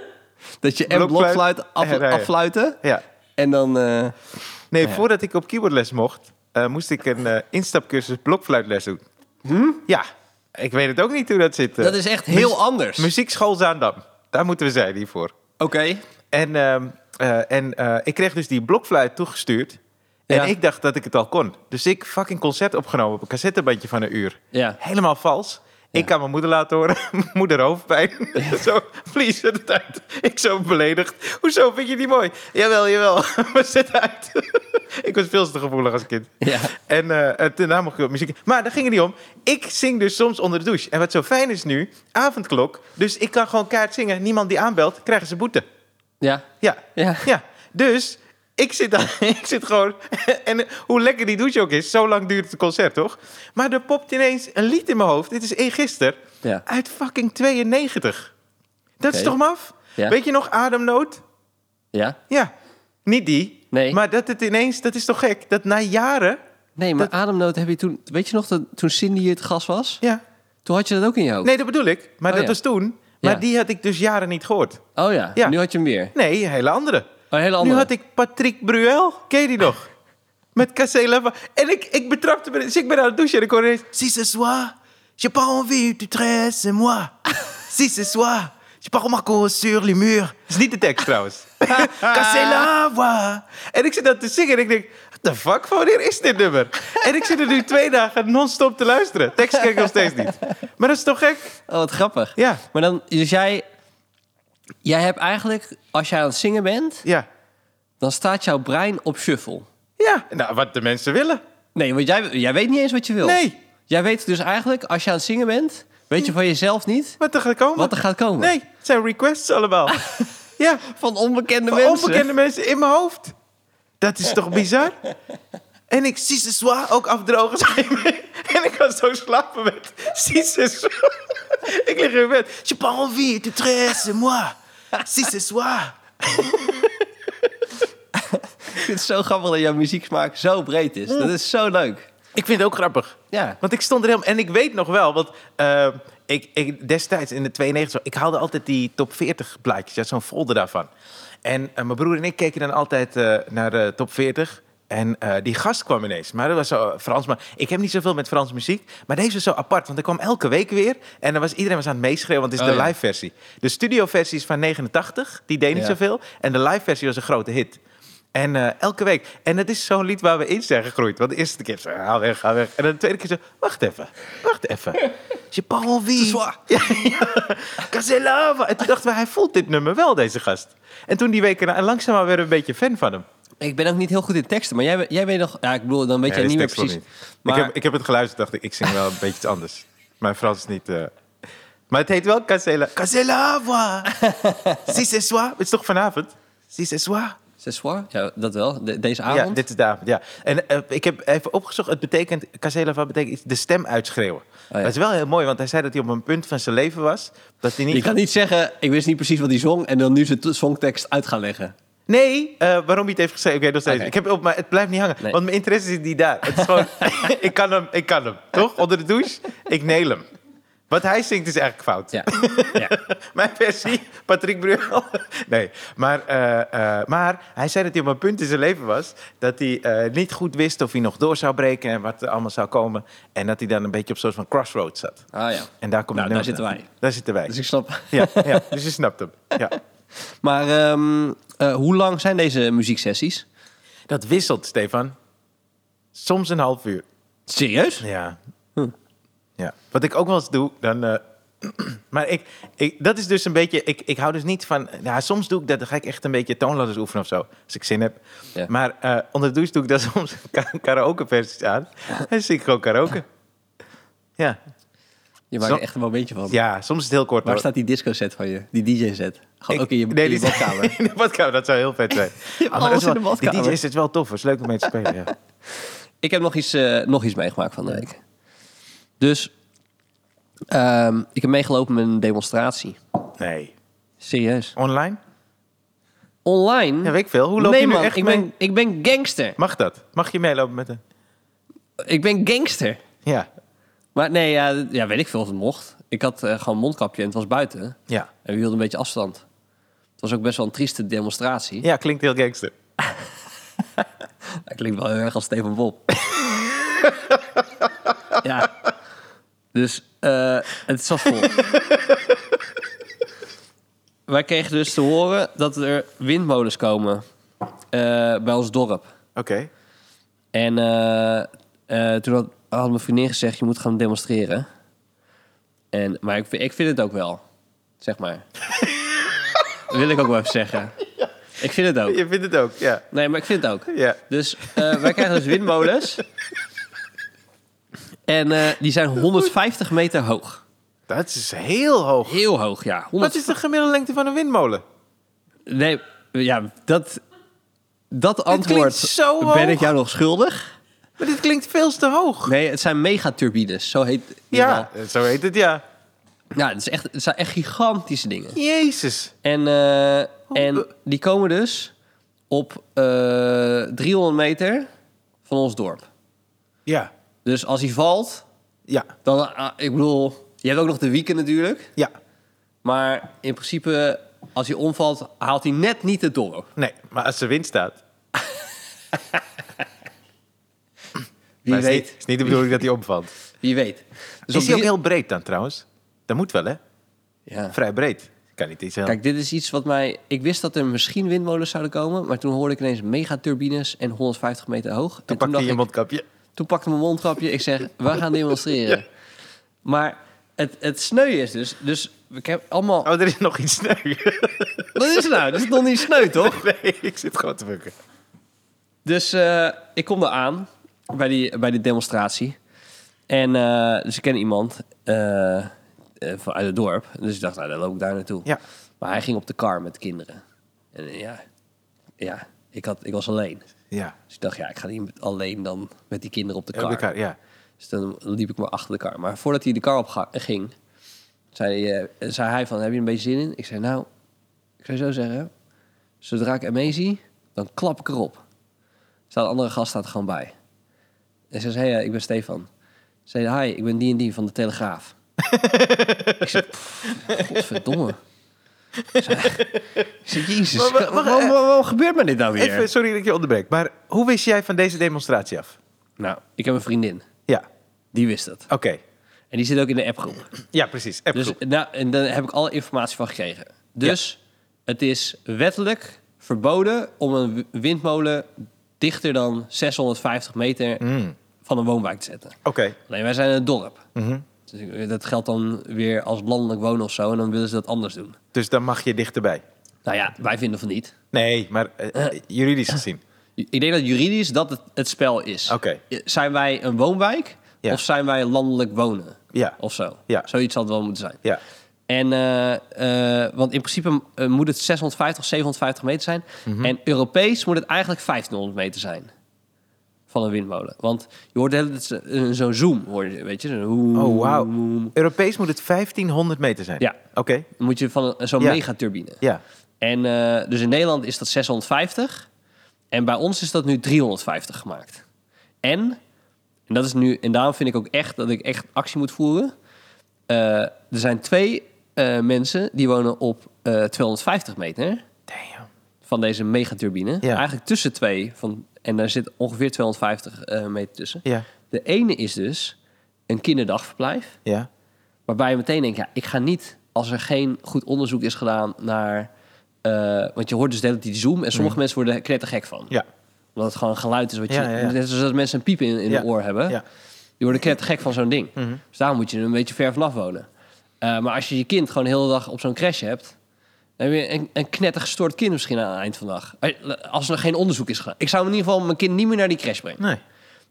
Speaker 2: dat je en
Speaker 1: Blokfluit
Speaker 2: blokfluit af,
Speaker 1: en rijden.
Speaker 2: affluiten...
Speaker 1: ja.
Speaker 2: en dan... eh,
Speaker 1: Nee, voordat ik op keyboardles mocht, eh, moest ik een eh, instapcursus blokfluitles doen. Ja, ik weet het ook niet hoe dat zit. eh.
Speaker 2: Hm? dat is echt heel
Speaker 1: Muzie-
Speaker 2: anders. Oké.
Speaker 1: Muziekschool Zaandam, daar moeten we zijn hiervoor. En, ehm, eh, en eh, ik kreeg dus die blokfluit toegestuurd. En
Speaker 2: Ja.
Speaker 1: ik dacht dat ik het al kon. Dus ik fucking concert opgenomen op een cassettebandje van een uur.
Speaker 2: Ja.
Speaker 1: Helemaal vals. Ik kan mijn moeder laten horen. moeder hoofdpijn. zo, please, zet het uit. Ik zo beledigd. Hoezo vind je die mooi? Jawel, jawel. maar zet het uit. ik was veel te gevoelig als kind.
Speaker 2: Ja.
Speaker 1: En eh, en daarna mocht ik op muziek. Maar daar ging het niet om. Ik zing dus soms onder de douche. En wat zo fijn is nu, avondklok. Dus ik kan gewoon kaart zingen. Niemand die aanbelt, krijgen ze boete.
Speaker 2: Ja.
Speaker 1: Ja.
Speaker 2: Ja.
Speaker 1: Ja. Dus ik zit, daar, ik zit gewoon. En hoe lekker die douche ook is, zo lang duurt het concert toch? Maar er popt ineens een lied in mijn hoofd. Dit is eergisteren.
Speaker 2: Ja.
Speaker 1: Uit fucking 92. Dat is
Speaker 2: Oké.
Speaker 1: toch maf?
Speaker 2: Ja.
Speaker 1: Weet je nog Ademnood?
Speaker 2: Ja.
Speaker 1: Ja. Niet die.
Speaker 2: Nee.
Speaker 1: Maar dat het ineens, dat is toch gek? Dat na jaren.
Speaker 2: Nee, maar ademnood heb je toen... Weet je nog dat toen Cindy het gas was?
Speaker 1: Ja.
Speaker 2: Toen had je dat ook in je hoofd?
Speaker 1: Nee, dat bedoel ik. Maar
Speaker 2: Oh,
Speaker 1: dat
Speaker 2: ja.
Speaker 1: was toen. Maar
Speaker 2: Ja.
Speaker 1: die had ik dus jaren niet gehoord.
Speaker 2: Oh ja.
Speaker 1: Ja.
Speaker 2: Nu had je hem weer.
Speaker 1: Nee, een hele andere.
Speaker 2: Oh, een hele andere.
Speaker 1: Nu had ik Patrick Bruel. Ken je die nog? Met Cassé Lava. En ik, ik betrapte me. Dus ik ben aan het douchen en ik hoor ineens... Si ce soir, j'ai pas envie tu tresses moi. Si ce soir, j'ai pas remarqué sur les murs. Dat is niet de tekst trouwens. Cassé Lava. En ik zit dat te zingen en ik denk... What the fuck, van wanneer is dit nummer? En ik zit er nu twee dagen non-stop te luisteren. Tekst ken ik nog steeds niet. Maar dat is toch gek?
Speaker 2: Oh, wat grappig.
Speaker 1: Ja.
Speaker 2: Maar dan... Dus jij... Jij hebt eigenlijk... Als jij aan het zingen bent...
Speaker 1: Ja.
Speaker 2: dan staat jouw brein op shuffle.
Speaker 1: Ja. Nou, wat de mensen willen.
Speaker 2: Nee, want jij, jij weet niet eens wat je wil.
Speaker 1: Nee.
Speaker 2: Jij weet dus eigenlijk, als je aan het zingen bent, weet je van jezelf niet
Speaker 1: Wat er gaat komen.
Speaker 2: wat er gaat komen.
Speaker 1: Nee, het zijn requests allemaal. ja,
Speaker 2: Van onbekende
Speaker 1: van
Speaker 2: mensen.
Speaker 1: onbekende mensen in mijn hoofd. Dat is toch bizar? En ik zie ze zwaar ook afdrogen. zei hij. en ik kan zo slapen met zie ze zwaar. Ik lig in bed. Je pas envie, tu tresses moi. Si ce soir.
Speaker 2: Ik vind het zo grappig dat jouw muzieksmaak zo breed is. Dat is zo leuk.
Speaker 1: Ik vind het ook grappig.
Speaker 2: Ja.
Speaker 1: Want ik stond er helemaal... En ik weet nog wel, want eh, ik, ik, destijds in de 92... Ik haalde altijd die top 40 plaatjes, ja, zo'n folder daarvan. En eh, mijn broer en ik keken dan altijd eh, naar de top 40... En eh, die gast kwam ineens. Maar dat was zo eh, Frans. Maar ik heb niet zoveel met Frans muziek. Maar deze was zo apart. Want er kwam elke week weer. En dan was, iedereen was aan het meeschreeuwen. Want het is
Speaker 2: Oh,
Speaker 1: de
Speaker 2: ja.
Speaker 1: live versie. De studio versie is van 89. Die deed niet
Speaker 2: Ja.
Speaker 1: zoveel. En de live versie was een grote hit. En eh, elke week. En dat is zo'n lied waar we in zijn gegroeid. Want de eerste keer zo, haal weg, haal weg. En dan de tweede keer zo, wacht even, wacht even. Je Paul wie?
Speaker 2: zwaar.
Speaker 1: Ja, ja. Caselava. En toen dachten we, hij voelt dit nummer wel, deze gast. En toen die weken na, en langzaamaan werden we een beetje fan van hem.
Speaker 2: Ik ben ook niet heel goed in teksten, maar jij, ben- jij weet nog... Ja, ik bedoel, dan weet
Speaker 1: Ja,
Speaker 2: jij
Speaker 1: deze
Speaker 2: niet meer
Speaker 1: tekst klopt
Speaker 2: precies.
Speaker 1: niet.
Speaker 2: Maar,
Speaker 1: Ik, heb, ik heb het geluisterd, dacht ik, ik zing wel een beetje iets anders. Mijn Frans is niet... eh, Maar het heet wel Casela. Caselava. si ce soir. Het is toch vanavond? Si ce soir.
Speaker 2: Ce soir? Ja, dat wel. De- deze avond?
Speaker 1: Ja, dit is de avond, ja. En eh, ik heb even opgezocht, het betekent, Caselava betekent iets, de stem uitschreeuwen.
Speaker 2: Oh ja.
Speaker 1: Dat is wel heel mooi, want hij zei dat hij op een punt van zijn leven was, dat hij niet...
Speaker 2: Je kan niet zeggen, ik wist niet precies wat hij zong... en dan nu zijn t- songtekst uit gaan leggen.
Speaker 1: Nee, eh, waarom hij het heeft geschreven, oké, nog steeds.
Speaker 2: Oké.
Speaker 1: Ik heb op, maar het blijft niet hangen,
Speaker 2: Nee.
Speaker 1: want mijn interesse zit niet daar. Het is gewoon, ik kan hem, ik kan hem, toch? Onder de douche, ik neel hem. Wat hij zingt is eigenlijk fout.
Speaker 2: Ja. ja.
Speaker 1: Mijn versie, Patrick Bruel. Nee, maar, eh, eh, maar hij zei dat hij op een punt in zijn leven was... dat hij eh, niet goed wist of hij nog door zou breken en wat er allemaal zou komen. En dat hij dan een beetje op een soort van crossroads zat.
Speaker 2: Ah ja.
Speaker 1: En daar komt
Speaker 2: Nou,
Speaker 1: het nummer
Speaker 2: daar zitten
Speaker 1: vandaan.
Speaker 2: wij.
Speaker 1: Daar zitten wij.
Speaker 2: Dus ik Dus snap...
Speaker 1: Ja, ja, dus je snapt hem. Ja.
Speaker 2: Maar ehm, eh, hoe lang zijn deze muzieksessies?
Speaker 1: Dat wisselt, Stefan. Soms een half uur.
Speaker 2: Serieus?
Speaker 1: Ja.
Speaker 2: Hm.
Speaker 1: ja. Wat ik ook wel eens doe, dan... eh, maar ik, ik, dat is dus een beetje... Ik, ik hou dus niet van... Ja, soms doe ik dat, dan ga ik echt een beetje toonladders oefenen of zo. Als ik zin heb.
Speaker 2: Ja.
Speaker 1: Maar eh, onder de douche doe ik daar soms ka- karaoke-versies aan. En dan zing ik gewoon karaoke. Ja.
Speaker 2: Je maakt
Speaker 1: Zo-
Speaker 2: er echt een momentje van.
Speaker 1: ja, soms is het heel kort.
Speaker 2: Waar
Speaker 1: hoor.
Speaker 2: staat die disco set van je? Die DJ set? Gewoon
Speaker 1: Ik-
Speaker 2: ook in je, in je
Speaker 1: die-
Speaker 2: badkamer.
Speaker 1: in de badkamer, dat zou heel vet zijn.
Speaker 2: hebt
Speaker 1: Ah, maar dat
Speaker 2: alles
Speaker 1: is wel-
Speaker 2: in de badkamer.
Speaker 1: Die DJ is het wel tof, het is leuk om mee te spelen. Ja.
Speaker 2: Ik heb nog iets, eh, nog iets meegemaakt van de week. Dus ehm, ik heb meegelopen met een demonstratie.
Speaker 1: Nee.
Speaker 2: Serieus.
Speaker 1: Online?
Speaker 2: Online?
Speaker 1: Ja, weet ik veel. Hoe loop
Speaker 2: nee,
Speaker 1: je nu
Speaker 2: man,
Speaker 1: echt
Speaker 2: ik
Speaker 1: mee?
Speaker 2: Ben, ik ben gangster.
Speaker 1: Mag dat? Mag je meelopen met een...
Speaker 2: Ik ben gangster.
Speaker 1: Ja.
Speaker 2: Maar nee, ja, d- ja weet ik veel of het mocht. Ik had eh, gewoon een mondkapje en het was buiten.
Speaker 1: Ja.
Speaker 2: En we hielden een beetje afstand. Het was ook best wel een trieste demonstratie.
Speaker 1: Ja, klinkt heel gangster.
Speaker 2: Dat klinkt wel heel erg als Steven Bob. ja. Dus eh, het zat vol. Wij kregen dus te horen dat er windmolens komen eh, bij ons dorp.
Speaker 1: Oké.
Speaker 2: En eh, eh, toen had, had mijn vriendin gezegd, je moet gaan demonstreren. En, maar ik, vind- ik vind het ook wel, zeg maar. Dat wil ik ook wel even zeggen. Ik vind het ook.
Speaker 1: Je vindt het ook, ja.
Speaker 2: Nee, maar ik vind het ook.
Speaker 1: Ja.
Speaker 2: Dus eh, wij krijgen dus windmolens. En eh, die zijn 150 meter hoog.
Speaker 1: Dat is heel hoog.
Speaker 2: Heel hoog, ja. 100...
Speaker 1: Wat is de gemiddelde lengte van een windmolen?
Speaker 2: Nee, ja, dat, dat antwoord
Speaker 1: klinkt zo hoog.
Speaker 2: ben ik jou nog schuldig.
Speaker 1: Maar dit klinkt veel te hoog.
Speaker 2: Nee, het zijn megaturbines, zo heet het.
Speaker 1: Ja, zo heet het, ja.
Speaker 2: Ja, het, is echt, het zijn echt gigantische dingen.
Speaker 1: Jezus.
Speaker 2: En, eh, en die komen dus op eh 300 meter van ons dorp.
Speaker 1: Ja.
Speaker 2: Dus als hij valt,
Speaker 1: Ja.
Speaker 2: dan... ah, ik bedoel, je hebt ook nog de wieken natuurlijk.
Speaker 1: Ja.
Speaker 2: Maar in principe, als hij omvalt, haalt hij net niet het dorp.
Speaker 1: Nee, maar als de wind staat...
Speaker 2: Wie
Speaker 1: maar het is
Speaker 2: weet.
Speaker 1: niet- Het is niet de bedoeling dat hij omvalt.
Speaker 2: Wie weet. Dus op
Speaker 1: Is hij ook
Speaker 2: die-
Speaker 1: heel breed dan trouwens? Dat moet wel, hè?
Speaker 2: Ja.
Speaker 1: Vrij breed. Kan niet iets heel...
Speaker 2: Kijk, dit is iets wat mij... Ik wist dat er misschien windmolens zouden komen... maar toen hoorde ik ineens megaturbines en 150 meter hoog. en
Speaker 1: Toen pak je
Speaker 2: dacht
Speaker 1: je
Speaker 2: ik-
Speaker 1: mondkapje.
Speaker 2: Toen pakte mijn mondkapje. Ik zeg, we gaan demonstreren. Maar het, het sneu is dus... Dus ik heb allemaal...
Speaker 1: Oh, er is nog iets sneu.
Speaker 2: Wat is het nou? Dat is nog niet sneu, toch?
Speaker 1: Nee, ik zit gewoon te bukken.
Speaker 2: Dus eh, ik kom daar aan bij die, bij die demonstratie. En eh, dus ik ken iemand eh, eh, van uit het dorp. Dus ik dacht, nou, dan loop ik daar naartoe.
Speaker 1: Ja.
Speaker 2: Maar hij ging op de kar met kinderen. En eh, ja, ja ik, had, ik was alleen.
Speaker 1: Ja.
Speaker 2: Dus ik dacht, ja, ik ga niet met- alleen dan met die kinderen op de kar.
Speaker 1: Op elkaar, ja.
Speaker 2: Dus dan liep ik maar achter de kar. Maar voordat hij de kar op ga- ging, zei, hij, eh, zei hij van, heb je er een beetje zin in? Ik zei, nou, ik zou zo zeggen, zodra ik ermee zie, dan klap ik erop. Staat een andere gast staat er gewoon bij. En ze zei, hey, eh, ik ben Stefan. Ze zei, hi, ik ben die en die van de Telegraaf. ik zei, "Pff, godverdomme. Ik zei, ik zei, jezus,
Speaker 1: Maar wa- wacht,
Speaker 2: waarom,
Speaker 1: eh,
Speaker 2: waarom- waarom gebeurt me dit nou weer?
Speaker 1: Even, sorry dat ik je onderbreek. Maar hoe wist jij van deze demonstratie af?
Speaker 2: Nou, ik heb een vriendin,
Speaker 1: Ja,
Speaker 2: die wist het.
Speaker 1: oké.
Speaker 2: En die zit ook in de appgroep.
Speaker 1: Ja, precies.
Speaker 2: Dus
Speaker 1: Appgroep.
Speaker 2: nou, en daar heb ik alle informatie van gekregen. Dus het is wettelijk verboden om een wi- windmolen dichter dan 650 meter
Speaker 1: Mm.
Speaker 2: van een woonwijk te zetten.
Speaker 1: Oké.
Speaker 2: Alleen wij zijn in het dorp.
Speaker 1: Mhm.
Speaker 2: Dus ik- dat geldt dan weer als landelijk wonen of zo. En dan willen ze dat anders doen.
Speaker 1: Dus dan mag je dichterbij.
Speaker 2: Nou ja, wij vinden van niet.
Speaker 1: Nee, maar eh, eh, juridisch gezien.
Speaker 2: Ik denk dat juridisch dat het, het spel is.
Speaker 1: Oké.
Speaker 2: Zijn wij een woonwijk
Speaker 1: Ja.
Speaker 2: of zijn wij landelijk wonen?
Speaker 1: Ja.
Speaker 2: Of zo.
Speaker 1: Ja.
Speaker 2: Zoiets zal het wel moeten zijn.
Speaker 1: Ja.
Speaker 2: En, eh, eh, want in principe eh, moet het 650, 750 meter zijn.
Speaker 1: Mhm.
Speaker 2: En Europees moet het eigenlijk 1500 meter zijn. Van een windmolen. Want je hoort de hele tijd zo- eh, zo'n zoom, hoor je, weet je? Zo'n hoem,
Speaker 1: Oh, wauw.
Speaker 2: hoem, hoem.
Speaker 1: Europees moet het 1500 meter zijn.
Speaker 2: Ja.
Speaker 1: Oké.
Speaker 2: Dan moet je van een- zo'n
Speaker 1: Ja.
Speaker 2: megaturbine.
Speaker 1: Ja.
Speaker 2: En eh, dus in Nederland is dat 650. En bij ons is dat nu 350 gemaakt. En, en dat is nu, en daarom vind ik ook echt dat ik echt actie moet voeren. Eh, er zijn twee eh, mensen die wonen op eh, 250 meter
Speaker 1: Damn.
Speaker 2: van deze megaturbine.
Speaker 1: Ja.
Speaker 2: Eigenlijk tussen twee. Van, en daar zit ongeveer 250 eh, meter tussen.
Speaker 1: Ja.
Speaker 2: De ene is dus een kinderdagverblijf.
Speaker 1: Ja.
Speaker 2: Waarbij je meteen denkt, ja, ik ga niet als er geen goed onderzoek is gedaan naar eh, eh, want je hoort dus de hele tijd die zoom en sommige mensen worden er gek van.
Speaker 1: Mm. Ja.
Speaker 2: Omdat het gewoon een geluid is wat je...
Speaker 1: Ja, ja, ja.
Speaker 2: Net zoals dat mensen een piep in, in
Speaker 1: Ja.
Speaker 2: de oor hebben.
Speaker 1: Ja. Mhm.
Speaker 2: Die worden knettergek van zo'n ding. Dus daar moet je een beetje ver vanaf wonen. Eh, maar als je je kind gewoon de hele dag op zo'n crash hebt... dan heb je een, een knettergestoord kind misschien aan het eind van de dag. Eh, Als er geen onderzoek is gedaan. Ik zou in ieder geval mijn kind niet meer naar die crash brengen.
Speaker 1: Nee.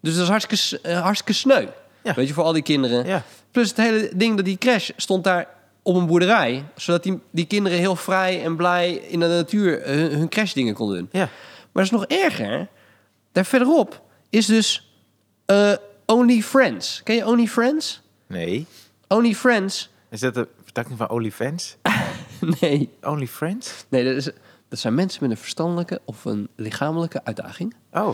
Speaker 2: Dus dat is hartstikke, s- eh, hartstikke sneu.
Speaker 1: Ja.
Speaker 2: Weet je, voor al die kinderen.
Speaker 1: Ja.
Speaker 2: Plus het hele ding dat die crash stond daar op een boerderij. Zodat die, die kinderen heel vrij en blij in de natuur eh, hun, hun crashdingen konden doen.
Speaker 1: Ja.
Speaker 2: Maar dat is nog erger. Daar verderop is dus eh, Only Friends. Ken je Only Friends?
Speaker 1: Nee.
Speaker 2: Only Friends?
Speaker 1: Is dat de vertakking van OnlyFans?
Speaker 2: Nee.
Speaker 1: Only Friends?
Speaker 2: Nee, dat, is, dat zijn mensen met een verstandelijke of een lichamelijke uitdaging.
Speaker 1: Oh,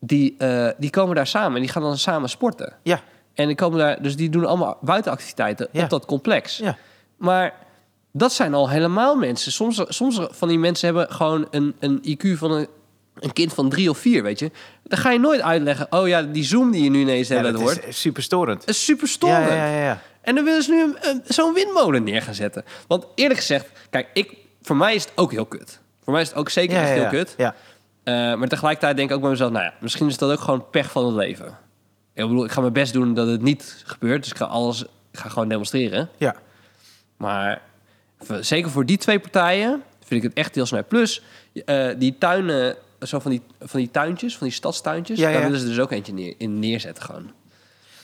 Speaker 2: Die, eh, die komen daar samen en die gaan dan samen sporten.
Speaker 1: ja.
Speaker 2: En die komen daar, dus die doen allemaal buitenactiviteiten
Speaker 1: Ja.
Speaker 2: op dat complex.
Speaker 1: Ja.
Speaker 2: Maar dat zijn al helemaal mensen. Soms, soms van die mensen hebben gewoon een, een IQ van een, een kind van drie of vier, weet je. Dan ga je nooit uitleggen, oh ja, die zoom die je nu ineens
Speaker 1: ja
Speaker 2: hebt,
Speaker 1: dat
Speaker 2: hoort.
Speaker 1: is super storend.
Speaker 2: is super storend.
Speaker 1: Ja, ja, ja, ja.
Speaker 2: En dan willen ze nu een- een- zo'n windmolen neer gaan zetten. Want eerlijk gezegd, kijk, ik, voor mij is het ook heel kut. Voor mij is het ook zeker
Speaker 1: Ja,
Speaker 2: echt
Speaker 1: ja,
Speaker 2: heel
Speaker 1: ja.
Speaker 2: kut.
Speaker 1: Ja.
Speaker 2: Eh, maar tegelijkertijd denk ik ook bij mezelf, nou ja, misschien is dat ook gewoon pech van het leven. Ik bedoel, ik ga mijn best doen dat het niet gebeurt. Dus ik ga alles, ik ga gewoon demonstreren.
Speaker 1: ja.
Speaker 2: Maar v- zeker voor die twee partijen vind ik het echt heel snel. Plus, eh, die tuinen, zo van die, van die tuintjes, van die stadstuintjes,
Speaker 1: Ja,
Speaker 2: daar
Speaker 1: ja.
Speaker 2: willen ze dus ook eentje neer, in neerzetten gewoon.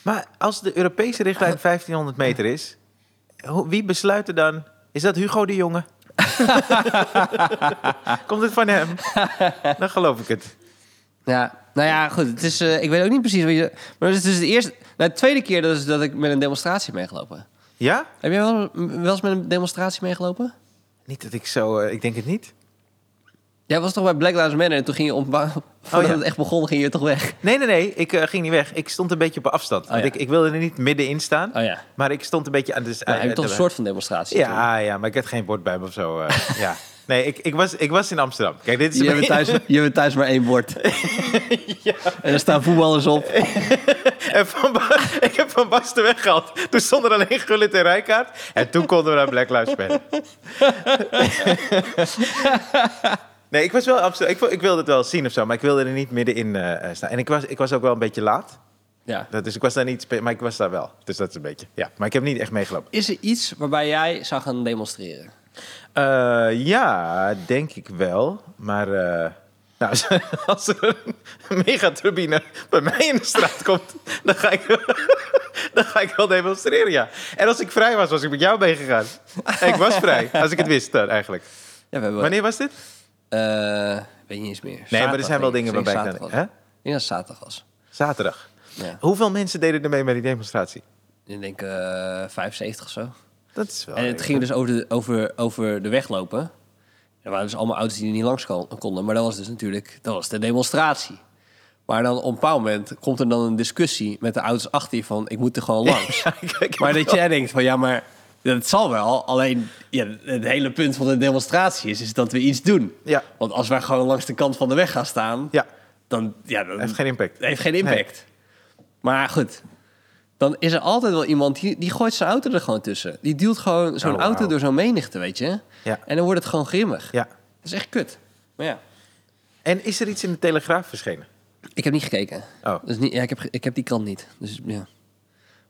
Speaker 1: Maar als de Europese richtlijn 1500 meter is, ho- wie besluit er dan? Is dat Hugo de Jonge? Komt het van hem? Dan geloof ik het.
Speaker 2: Ja, nou ja, goed. Het is, eh, ik weet ook niet precies wat je... Maar het is dus de eerste... Nou, de tweede keer dat, is dat ik met een demonstratie heb meegelopen.
Speaker 1: Ja?
Speaker 2: Heb jij wel, wel eens met een demonstratie meegelopen?
Speaker 1: Niet dat ik zo... eh, ik denk het niet.
Speaker 2: Jij was toch bij Black Lives Matter en toen ging je om... Voordat
Speaker 1: Oh ja.
Speaker 2: het echt begon, ging je toch weg?
Speaker 1: Nee, nee, nee. Ik eh, ging niet weg. Ik stond een beetje op afstand.
Speaker 2: Oh,
Speaker 1: want
Speaker 2: ja.
Speaker 1: ik, ik wilde er niet middenin staan.
Speaker 2: Oh ja.
Speaker 1: Maar ik stond een beetje aan de... s-
Speaker 2: Nou,
Speaker 1: eh,
Speaker 2: heb je toch een
Speaker 1: eh,
Speaker 2: soort van demonstratie? toen?
Speaker 1: Ja, ja, maar ik had geen bord bij me of zo. eh, ja. Nee, ik, ik, was, ik was in Amsterdam. Kijk, dit is...
Speaker 2: Je hebt, thuis, je hebt thuis maar één bord. En er staan voetballers op.
Speaker 1: En van Ba- ik heb Van Basten weggehaald. Toen stond er alleen Gullit en Rijkaard. En toen konden we naar Black Lives Matter. nee, ik was wel absoluut... Ik, vo- ik wilde het wel zien of zo, maar ik wilde er niet middenin eh, eh, staan. En ik was, ik was ook wel een beetje laat.
Speaker 2: Ja.
Speaker 1: Dat, dus ik was daar niet... spe- Maar ik was daar wel. Dus dat is een beetje... Ja, maar ik heb niet echt meegelopen.
Speaker 2: Is er iets waarbij jij zou gaan demonstreren?
Speaker 1: Eh, ja, denk ik wel. Maar... eh, nou, als- als er een megatrurbine bij mij in de straat komt, dan ga ik, dan ga ik wel demonstreren, ja. En als ik vrij was, was ik met jou meegegaan. En ik was vrij, als ik het wist dan eigenlijk.
Speaker 2: Ja, we hebben...
Speaker 1: Wanneer was dit?
Speaker 2: Eh, weet je niet eens meer. Zaterdag,
Speaker 1: maar er zijn wel
Speaker 2: denk ik.
Speaker 1: dingen
Speaker 2: Ik
Speaker 1: waarbij
Speaker 2: denk
Speaker 1: ik dan-
Speaker 2: zaterdag was. Ik denk dat het zaterdag was.
Speaker 1: Zaterdag.
Speaker 2: Ja.
Speaker 1: Hoeveel mensen deden er mee met die demonstratie?
Speaker 2: Ik denk eh 75 of
Speaker 1: Oh,
Speaker 2: zo.
Speaker 1: Dat is wel...
Speaker 2: En het ging dus over de, over, over de weg lopen. Er waren dus allemaal auto's die er niet langs kon- konden. Maar dat was dus natuurlijk dat was de demonstratie. Maar dan op een bepaald moment komt er dan een discussie met de auto's achter je van... ik moet er gewoon langs. maar dat jij denkt van ja, maar dat zal wel. Alleen ja, het hele punt van de demonstratie is, is dat we iets doen.
Speaker 1: Ja.
Speaker 2: Want als wij gewoon langs de kant van de weg gaan staan...
Speaker 1: Ja.
Speaker 2: dan, ja, dan
Speaker 1: Heeft geen impact.
Speaker 2: Heeft geen impact. Maar goed, dan is er altijd wel iemand die, die gooit zijn auto er gewoon tussen. Die duwt gewoon zo'n
Speaker 1: Oh, wauw.
Speaker 2: auto door zo'n menigte, weet je.
Speaker 1: Ja.
Speaker 2: En dan wordt het gewoon grimmig.
Speaker 1: Ja.
Speaker 2: Dat is echt kut. Maar ja,
Speaker 1: En is er iets in de Telegraaf verschenen?
Speaker 2: ik heb niet gekeken.
Speaker 1: Oh.
Speaker 2: Dus niet, ja, ik, heb, ge- ik heb die krant niet. Dus ja.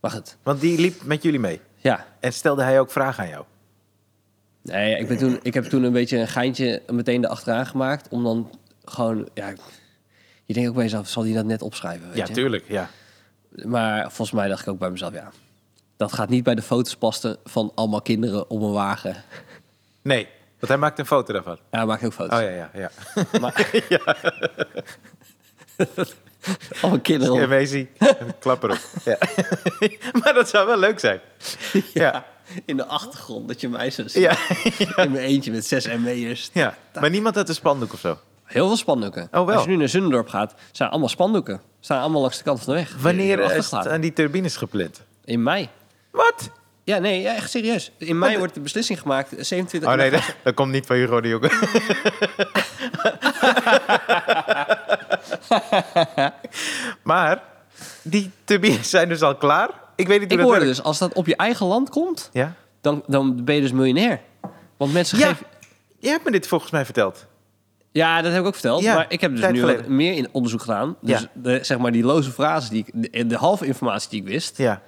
Speaker 2: Maar goed,
Speaker 1: Want die liep met jullie mee.
Speaker 2: ja.
Speaker 1: En stelde hij ook vragen aan jou?
Speaker 2: Nee, ik, ben toen, ik heb toen een beetje een geintje meteen erachteraan gemaakt. Om dan gewoon, ja... Je denkt ook bij jezelf, zal die dat net opschrijven? Weet
Speaker 1: Ja,
Speaker 2: je?
Speaker 1: tuurlijk. Ja.
Speaker 2: Maar volgens mij dacht ik ook bij mezelf, ja. Dat gaat niet bij de foto's passen van allemaal kinderen op een wagen.
Speaker 1: Nee, want hij maakt een foto daarvan.
Speaker 2: Ja, maak ook foto's.
Speaker 1: Oh ja, ja, ja.
Speaker 2: Maar... allemaal kinderen op.
Speaker 1: Amazing. En klap erop. Ja. maar dat zou wel leuk zijn. Ja.
Speaker 2: In de achtergrond, dat je mij zo ziet.
Speaker 1: Ja.
Speaker 2: In mijn eentje met zes ME'ers.
Speaker 1: ja. Maar niemand had een spandoek of zo.
Speaker 2: Heel veel spandoeken.
Speaker 1: Oh, wel.
Speaker 2: Als je nu naar Zunderdorp gaat, zijn allemaal spandoeken. Staan allemaal langs de kant van de weg.
Speaker 1: Wanneer
Speaker 2: Die worden
Speaker 1: is het eh?
Speaker 2: achtergelaten.
Speaker 1: aan die turbines gepland?
Speaker 2: In mei.
Speaker 1: Wat?
Speaker 2: Ja, nee, ja, echt serieus. In mei wordt de beslissing gemaakt. eh, 27
Speaker 1: Oh nee, dat, dat komt niet van Hugo de Jonge. maar die turbines zijn dus al klaar. Ik weet niet hoe
Speaker 2: Ik
Speaker 1: dat
Speaker 2: hoorde
Speaker 1: werkt.
Speaker 2: dus, als dat op je eigen land komt,
Speaker 1: Ja?
Speaker 2: dan, dan ben je dus miljonair. Want mensen
Speaker 1: Ja.
Speaker 2: geven...
Speaker 1: Je hebt me dit volgens mij verteld.
Speaker 2: Ja, dat heb ik ook verteld.
Speaker 1: Ja,
Speaker 2: maar ik heb dus
Speaker 1: tijd
Speaker 2: nu
Speaker 1: geleden.
Speaker 2: wat meer in onderzoek gedaan. Dus
Speaker 1: Ja.
Speaker 2: de, zeg maar die loze frases, die ik, de, de halve informatie die ik wist,
Speaker 1: Ja.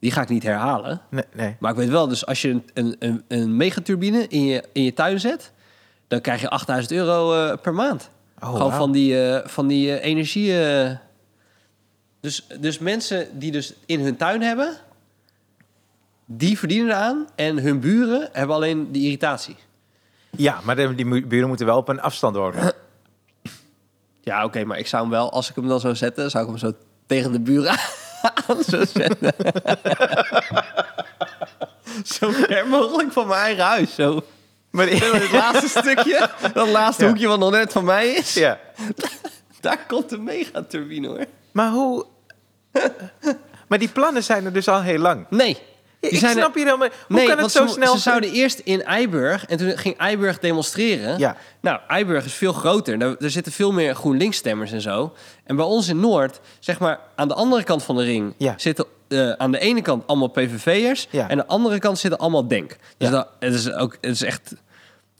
Speaker 2: die ga ik niet herhalen.
Speaker 1: Nee, nee.
Speaker 2: Maar ik weet wel, dus als je een, een, een, een megaturbine in je, in je tuin zet, dan krijg je 8000 euro eh, per maand.
Speaker 1: Oh,
Speaker 2: Gewoon
Speaker 1: wauw.
Speaker 2: van die, eh, van die eh, energie. eh. dus, dus mensen die dus in hun tuin hebben, die verdienen eraan. En hun buren hebben alleen die irritatie.
Speaker 1: Ja, maar de- die mu- buren moeten wel op een afstand worden.
Speaker 2: Ja, oké, maar ik zou hem wel, als ik hem dan zou zetten, zou ik hem zo tegen de buren aan zou zetten. zo ver mogelijk van mijn eigen huis. Zo.
Speaker 1: Maar,
Speaker 2: Het laatste stukje, dat laatste
Speaker 1: Ja.
Speaker 2: hoekje wat nog net van mij is,
Speaker 1: ja.
Speaker 2: daar komt de megaturbine hoor.
Speaker 1: maar hoe... maar die plannen zijn er dus al heel lang.
Speaker 2: Nee.
Speaker 1: Ja,
Speaker 2: die
Speaker 1: ik
Speaker 2: zijn er-
Speaker 1: snap hier helemaal... Hoe
Speaker 2: nee,
Speaker 1: kan het
Speaker 2: want
Speaker 1: zo
Speaker 2: ze,
Speaker 1: snel...
Speaker 2: ze zouden eerst in Eiburg en toen ging Eiburg demonstreren.
Speaker 1: Ja.
Speaker 2: Nou, Eiburg is veel groter. Daar, daar zitten veel meer GroenLinks-stemmers en zo. En bij ons in Noord, zeg maar aan de andere kant van de ring,
Speaker 1: Ja.
Speaker 2: zitten eh, aan de ene kant allemaal PVV'ers
Speaker 1: Ja.
Speaker 2: en aan de andere kant zitten allemaal Denk. Dus
Speaker 1: Ja.
Speaker 2: dat, het is ook, het is echt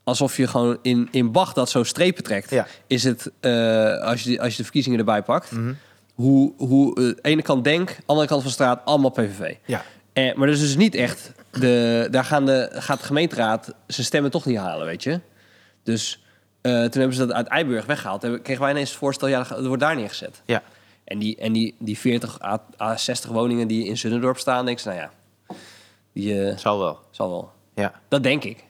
Speaker 2: alsof je gewoon in, in Bach dat zo strepen trekt.
Speaker 1: Ja.
Speaker 2: Is het, eh, als, je, die- als je de verkiezingen erbij pakt,
Speaker 1: Mhm.
Speaker 2: hoe, hoe eh, ene kant Denk, andere kant van de straat, allemaal PVV.
Speaker 1: Ja.
Speaker 2: Eh, maar dat is dus niet echt. De, daar gaan de, gaat de gemeenteraad zijn stemmen toch niet halen, weet je. Dus eh, toen hebben ze dat uit Eiburg weggehaald. Hebben- Kregen wij ineens het voorstel, ja, dat wordt daar neergezet.
Speaker 1: Ja.
Speaker 2: En die, en die, die 40 à, à 60 woningen die in Zunnendorp staan, denk ik, nou ja, die eh,
Speaker 1: Zal wel.
Speaker 2: zal wel.
Speaker 1: Ja.
Speaker 2: Dat denk ik.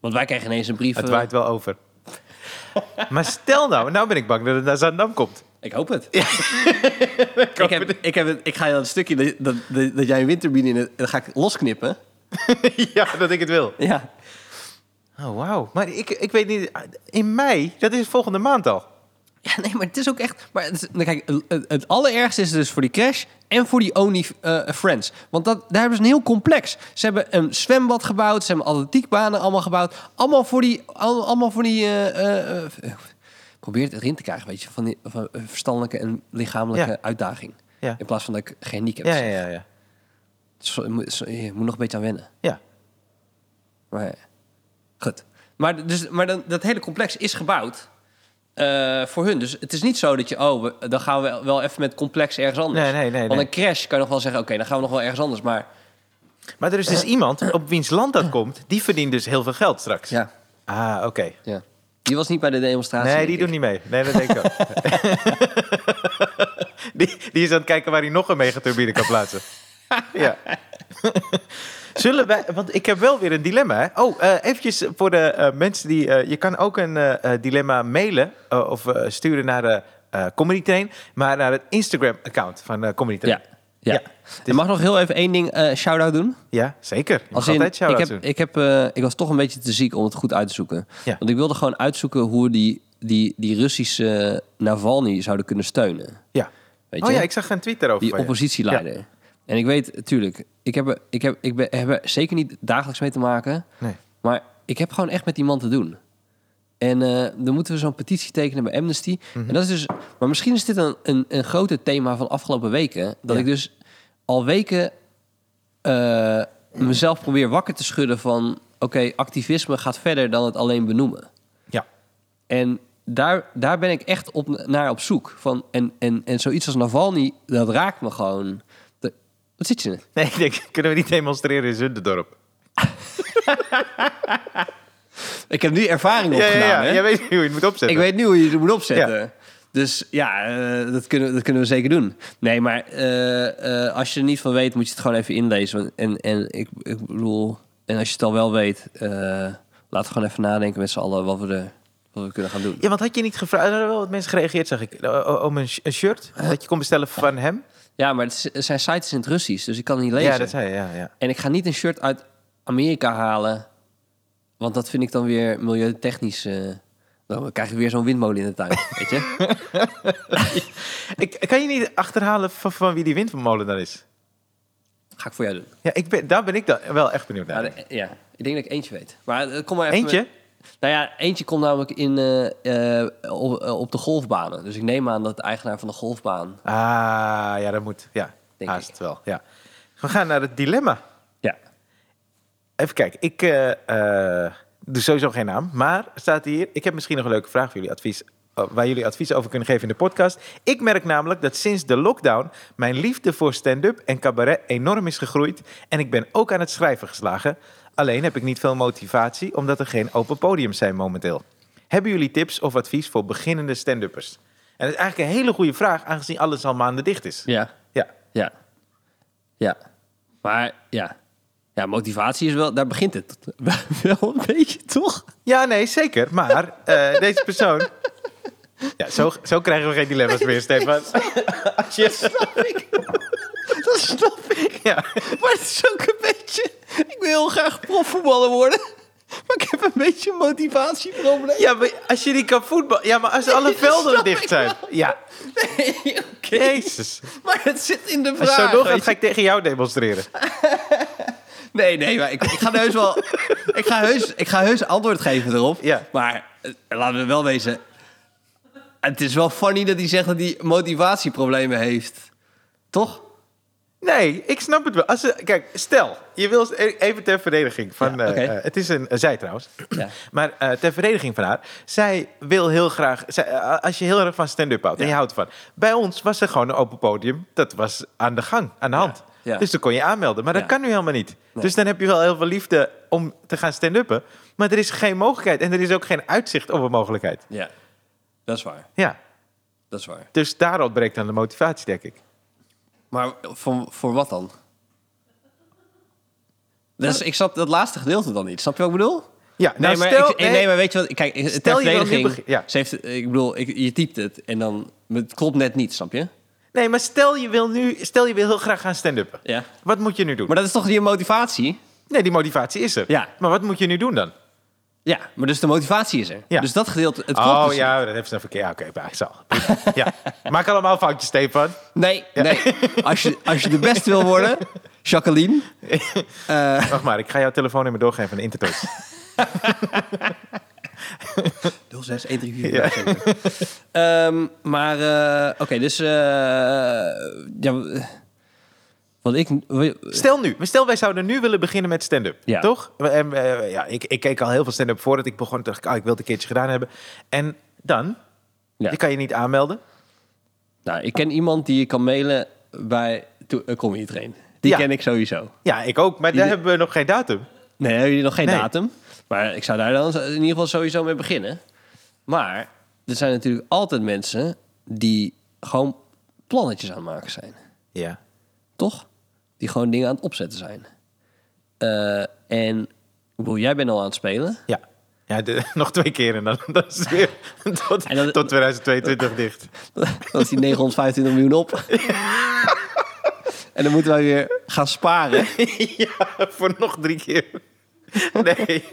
Speaker 2: Want wij kregen ineens een brief.
Speaker 1: Het
Speaker 2: eh,
Speaker 1: waait wel over. maar stel nou, nou ben ik bang dat het naar Zandam komt.
Speaker 2: Ik hoop het. ik, heb, ik, heb het, ik ga dat stukje dat, dat, dat jij een windturbine in het, dat ga ik losknippen.
Speaker 1: ja, dat ik het wil.
Speaker 2: Ja.
Speaker 1: Oh, wauw. Maar ik, ik weet niet... In mei, dat is volgende maand al.
Speaker 2: Ja, nee, maar het is ook echt. Maar het, is- nou, kijk, het, het allerergste is dus voor die crash en voor die Only eh, Friends. Want dat, daar hebben ze een heel complex. Ze hebben een zwembad gebouwd, ze hebben atletiekbanen allemaal gebouwd. Allemaal voor die. al- allemaal voor die eh, eh, eh, probeer het erin te krijgen, weet je, van die van, eh, verstandelijke en lichamelijke
Speaker 1: Ja.
Speaker 2: uitdaging.
Speaker 1: Ja.
Speaker 2: In plaats van dat ik geen niek heb.
Speaker 1: Ja, ja, ja. Ja.
Speaker 2: Zo- je moet- zo- je moet nog een beetje aan wennen.
Speaker 1: ja.
Speaker 2: Maar ja. goed. Maar, dus, maar dan, dat hele complex is gebouwd eh, voor hun. Dus het is niet zo dat je, oh, we- dan gaan we wel even met complex ergens anders.
Speaker 1: Nee, nee, nee,
Speaker 2: Want
Speaker 1: nee.
Speaker 2: een crash kan je nog wel zeggen, oké, dan gaan we nog wel ergens anders. Maar
Speaker 1: Maar er is dus iemand op wiens land dat komt... die verdient dus heel veel geld straks.
Speaker 2: ja,
Speaker 1: Ah, oké.
Speaker 2: ja. die was niet bij de demonstratie.
Speaker 1: Nee,
Speaker 2: denk
Speaker 1: die
Speaker 2: ik.
Speaker 1: doet niet mee. Nee, dat denk ik ook. die, die is aan het kijken waar hij nog een megaturbine kan plaatsen. ja. Zullen wij, want ik heb wel weer een dilemma. Hè? Oh, eh eventjes voor de eh, mensen die. eh, je kan ook een eh, eh, dilemma mailen eh, of eh, sturen naar de eh Comedy Train, maar naar het Instagram-account van eh Comedy Train.
Speaker 2: Ja. Ja.
Speaker 1: Ja,
Speaker 2: Je mag nog heel even één ding eh shout-out doen.
Speaker 1: Ja, zeker. Je mag
Speaker 2: in,
Speaker 1: altijd
Speaker 2: ik,
Speaker 1: shout-outs
Speaker 2: heb,
Speaker 1: doen.
Speaker 2: ik, heb, eh, ik was toch een beetje te ziek om het goed uit te zoeken.
Speaker 1: Ja.
Speaker 2: Want ik wilde gewoon uitzoeken hoe die, die, die Russische Navalny zouden kunnen steunen.
Speaker 1: Ja.
Speaker 2: Weet
Speaker 1: Oh
Speaker 2: je?
Speaker 1: ja, ik zag een tweet daarover.
Speaker 2: die
Speaker 1: van je.
Speaker 2: oppositieleider. En ik weet, natuurlijk, ik heb, er- ik heb, ik ben, heb er zeker niet dagelijks mee te maken.
Speaker 1: Nee.
Speaker 2: Maar ik heb gewoon echt met die man te doen. En eh, dan moeten we zo'n petitie tekenen bij Amnesty. En dat is dus, maar misschien is dit een, een, een grote thema van de afgelopen weken. Dat
Speaker 1: Ja.
Speaker 2: ik dus al weken eh, mezelf probeer wakker te schudden van... oké, activisme gaat verder dan het alleen benoemen.
Speaker 1: Ja.
Speaker 2: En daar, daar ben ik echt op, naar op zoek. Van, en, en, en zoiets als Navalny, dat raakt me gewoon. De- wat zit je?
Speaker 1: Nee, ik denk, kunnen we niet demonstreren in Zunderdorp?
Speaker 2: Ik heb nu ervaring
Speaker 1: Ja,
Speaker 2: opgedaan.
Speaker 1: ja, ja.
Speaker 2: hè?
Speaker 1: Jij weet niet hoe je het moet opzetten.
Speaker 2: Ik weet nu hoe je het moet opzetten. Dus ja, eh, dat, kunnen, we- dat kunnen we zeker doen. Nee, maar eh, eh, als je er niet van weet, moet je het gewoon even inlezen. Want, en, en ik, ik bedoel, en als je het al wel weet, eh, laten we gewoon even nadenken met z'n allen wat we, er, wat we kunnen gaan doen.
Speaker 1: Ja, want had je niet gevraagd? Er hadden wel wat mensen gereageerd, zag ik. eh, Om een sh- een shirt dat je kon bestellen van hem.
Speaker 2: Ja, maar het is- het zijn sites in het Russisch, dus ik kan het niet lezen.
Speaker 1: Ja, dat zei je, ja, ja.
Speaker 2: En ik ga niet een shirt uit Amerika halen. Want dat vind ik dan weer milieutechnisch. eh, dan krijg ik weer zo'n windmolen in de tuin. weet je?
Speaker 1: Ik, kan je niet achterhalen van, van wie die windmolen dan is?
Speaker 2: Ga ik voor jou doen.
Speaker 1: Ja, ik ben, daar ben ik dan wel echt benieuwd
Speaker 2: Ja,
Speaker 1: naar.
Speaker 2: de- ja, ik denk dat ik eentje weet. Maar eh, kom maar even.
Speaker 1: Eentje?
Speaker 2: met- nou ja, eentje komt namelijk in, eh, eh, op, eh, op de golfbanen. Dus ik neem aan dat de eigenaar van de golfbaan.
Speaker 1: Ah, ja, dat moet. Ja,
Speaker 2: Denk
Speaker 1: haast
Speaker 2: ik.
Speaker 1: wel. Ja. We gaan naar het dilemma.
Speaker 2: Ja.
Speaker 1: Even kijken. Ik, eh, eh, doe sowieso geen naam. Maar staat hier, ik heb misschien nog een leuke vraag voor jullie advies. eh, Waar jullie advies over kunnen geven in de podcast. Ik merk namelijk dat sinds de lockdown mijn liefde voor stand-up en cabaret enorm is gegroeid. En ik ben ook aan het schrijven geslagen. Alleen heb ik niet veel motivatie, omdat er geen open podiums zijn momenteel. Hebben jullie tips of advies voor beginnende stand-uppers? En dat is eigenlijk een hele goede vraag, aangezien alles al maanden dicht is.
Speaker 2: Ja,
Speaker 1: Ja,
Speaker 2: ja. Ja. Maar ja. Ja, motivatie is wel... Daar begint het wel een beetje, toch?
Speaker 1: ja nee, zeker. Maar eh, deze persoon... Ja, zo, zo krijgen we geen dilemma's meer, Stefan. Als je-
Speaker 2: snap ik. Dat snap ik.
Speaker 1: Ja.
Speaker 2: Maar het is ook een beetje... Ik wil heel graag profvoetballer worden. Maar ik heb een beetje een motivatieprobleem.
Speaker 1: ja, maar als je niet kan voetballen... Ja, maar als alle
Speaker 2: Nee,
Speaker 1: velden
Speaker 2: snap
Speaker 1: dicht
Speaker 2: ik
Speaker 1: zijn... Ja,
Speaker 2: Nee, oké.
Speaker 1: jezus.
Speaker 2: Maar het zit in de
Speaker 1: Als
Speaker 2: vraag.
Speaker 1: je zo
Speaker 2: weet
Speaker 1: doorgaat,
Speaker 2: je.
Speaker 1: ga ik tegen jou demonstreren.
Speaker 2: Nee, nee, maar ik, ik ga heus wel... ik, ga heus, ik ga heus antwoord geven erop.
Speaker 1: Ja.
Speaker 2: Maar eh, laten we wel wezen... Het is wel funny dat hij zegt dat hij motivatieproblemen heeft. Toch?
Speaker 1: Nee, ik snap het wel. Als, ze- kijk, stel, je wil even ter verdediging van.
Speaker 2: Ja,
Speaker 1: eh,
Speaker 2: oké.
Speaker 1: eh, het is een. eh, zij trouwens.
Speaker 2: Ja.
Speaker 1: Maar eh, ter verdediging van haar. Zij wil heel graag. zij- eh, als je heel erg van stand-up houdt en
Speaker 2: Ja.
Speaker 1: je houdt van. Bij ons was er gewoon een open podium. Dat was aan de gang, aan de hand.
Speaker 2: ja.
Speaker 1: Dus dan kon je aanmelden. Maar
Speaker 2: Ja.
Speaker 1: dat kan nu helemaal niet. Dus dan heb je wel heel veel liefde om te gaan stand-uppen. Maar er is geen mogelijkheid. En er is ook geen uitzicht op een mogelijkheid.
Speaker 2: Ja, dat is waar.
Speaker 1: Ja.
Speaker 2: Dat is waar.
Speaker 1: Dus daar ontbreekt dan de motivatie, denk ik.
Speaker 2: Maar voor, voor wat dan? Dus ik snap dat laatste gedeelte dan niet. Snap je wat ik bedoel?
Speaker 1: Ja, nou,
Speaker 2: nee, maar
Speaker 1: stel-
Speaker 2: ik, nee,
Speaker 1: nee.
Speaker 2: maar weet je wat? Kijk, ter
Speaker 1: Stel je wil nu
Speaker 2: verdediging...
Speaker 1: begin- ja.
Speaker 2: ze heeft, ik bedoel, ik, je typt het en dan... Het klopt net niet, snap je?
Speaker 1: Nee, maar stel je wil nu. Stel je wil heel graag gaan stand-uppen.
Speaker 2: Ja.
Speaker 1: Wat moet je nu doen?
Speaker 2: Maar dat is toch je motivatie?
Speaker 1: Nee, die motivatie is er.
Speaker 2: Ja.
Speaker 1: Maar wat moet je nu doen dan?
Speaker 2: Ja, maar dus de motivatie is er.
Speaker 1: Ja.
Speaker 2: Dus dat gedeelte, het klopt
Speaker 1: Oh
Speaker 2: dus
Speaker 1: ja, dat heeft ze verkeerd. Ja, oké, maar ik zal. ja. Maak allemaal foutjes, Stefan.
Speaker 2: Nee, nee. Als je, als je de beste wil worden, Jacqueline.
Speaker 1: Wacht maar, ik ga jouw telefoonnummer doorgeven aan de Intertoys.
Speaker 2: 06 Ehm, maar, eh, oké, dus... eh, ja, w- wat ik... w-
Speaker 1: Stel nu, maar stel wij zouden nu willen beginnen met stand-up,
Speaker 2: Ja.
Speaker 1: toch? En, eh, ja, ik, ik keek al heel veel stand-up voordat ik begon. Dacht ik, ah, ik wil het een keertje gedaan hebben. En dan?
Speaker 2: Ja.
Speaker 1: Je kan je niet aanmelden.
Speaker 2: Nou, ik ken iemand die je kan mailen bij to- eh, Comedy Train. Die
Speaker 1: Ja.
Speaker 2: ken ik sowieso.
Speaker 1: Ja, ik ook, maar daar
Speaker 2: Ieder-
Speaker 1: hebben we nog geen datum.
Speaker 2: Nee, hebben jullie nog geen
Speaker 1: Nee.
Speaker 2: datum. Maar ik zou daar dan in ieder geval sowieso mee beginnen. Maar er zijn natuurlijk altijd mensen die gewoon plannetjes aan het maken zijn.
Speaker 1: Ja.
Speaker 2: Toch? Die gewoon dingen aan het opzetten zijn. Eh, en ik bedoel, jij bent al aan het spelen.
Speaker 1: Ja. Ja, de- nog twee keer en dan, dan is het weer tot,
Speaker 2: En dan-
Speaker 1: tot 2022 dicht.
Speaker 2: Dan is die 925 miljoen op. en dan moeten wij weer gaan sparen.
Speaker 1: Ja, voor nog drie keer. Nee.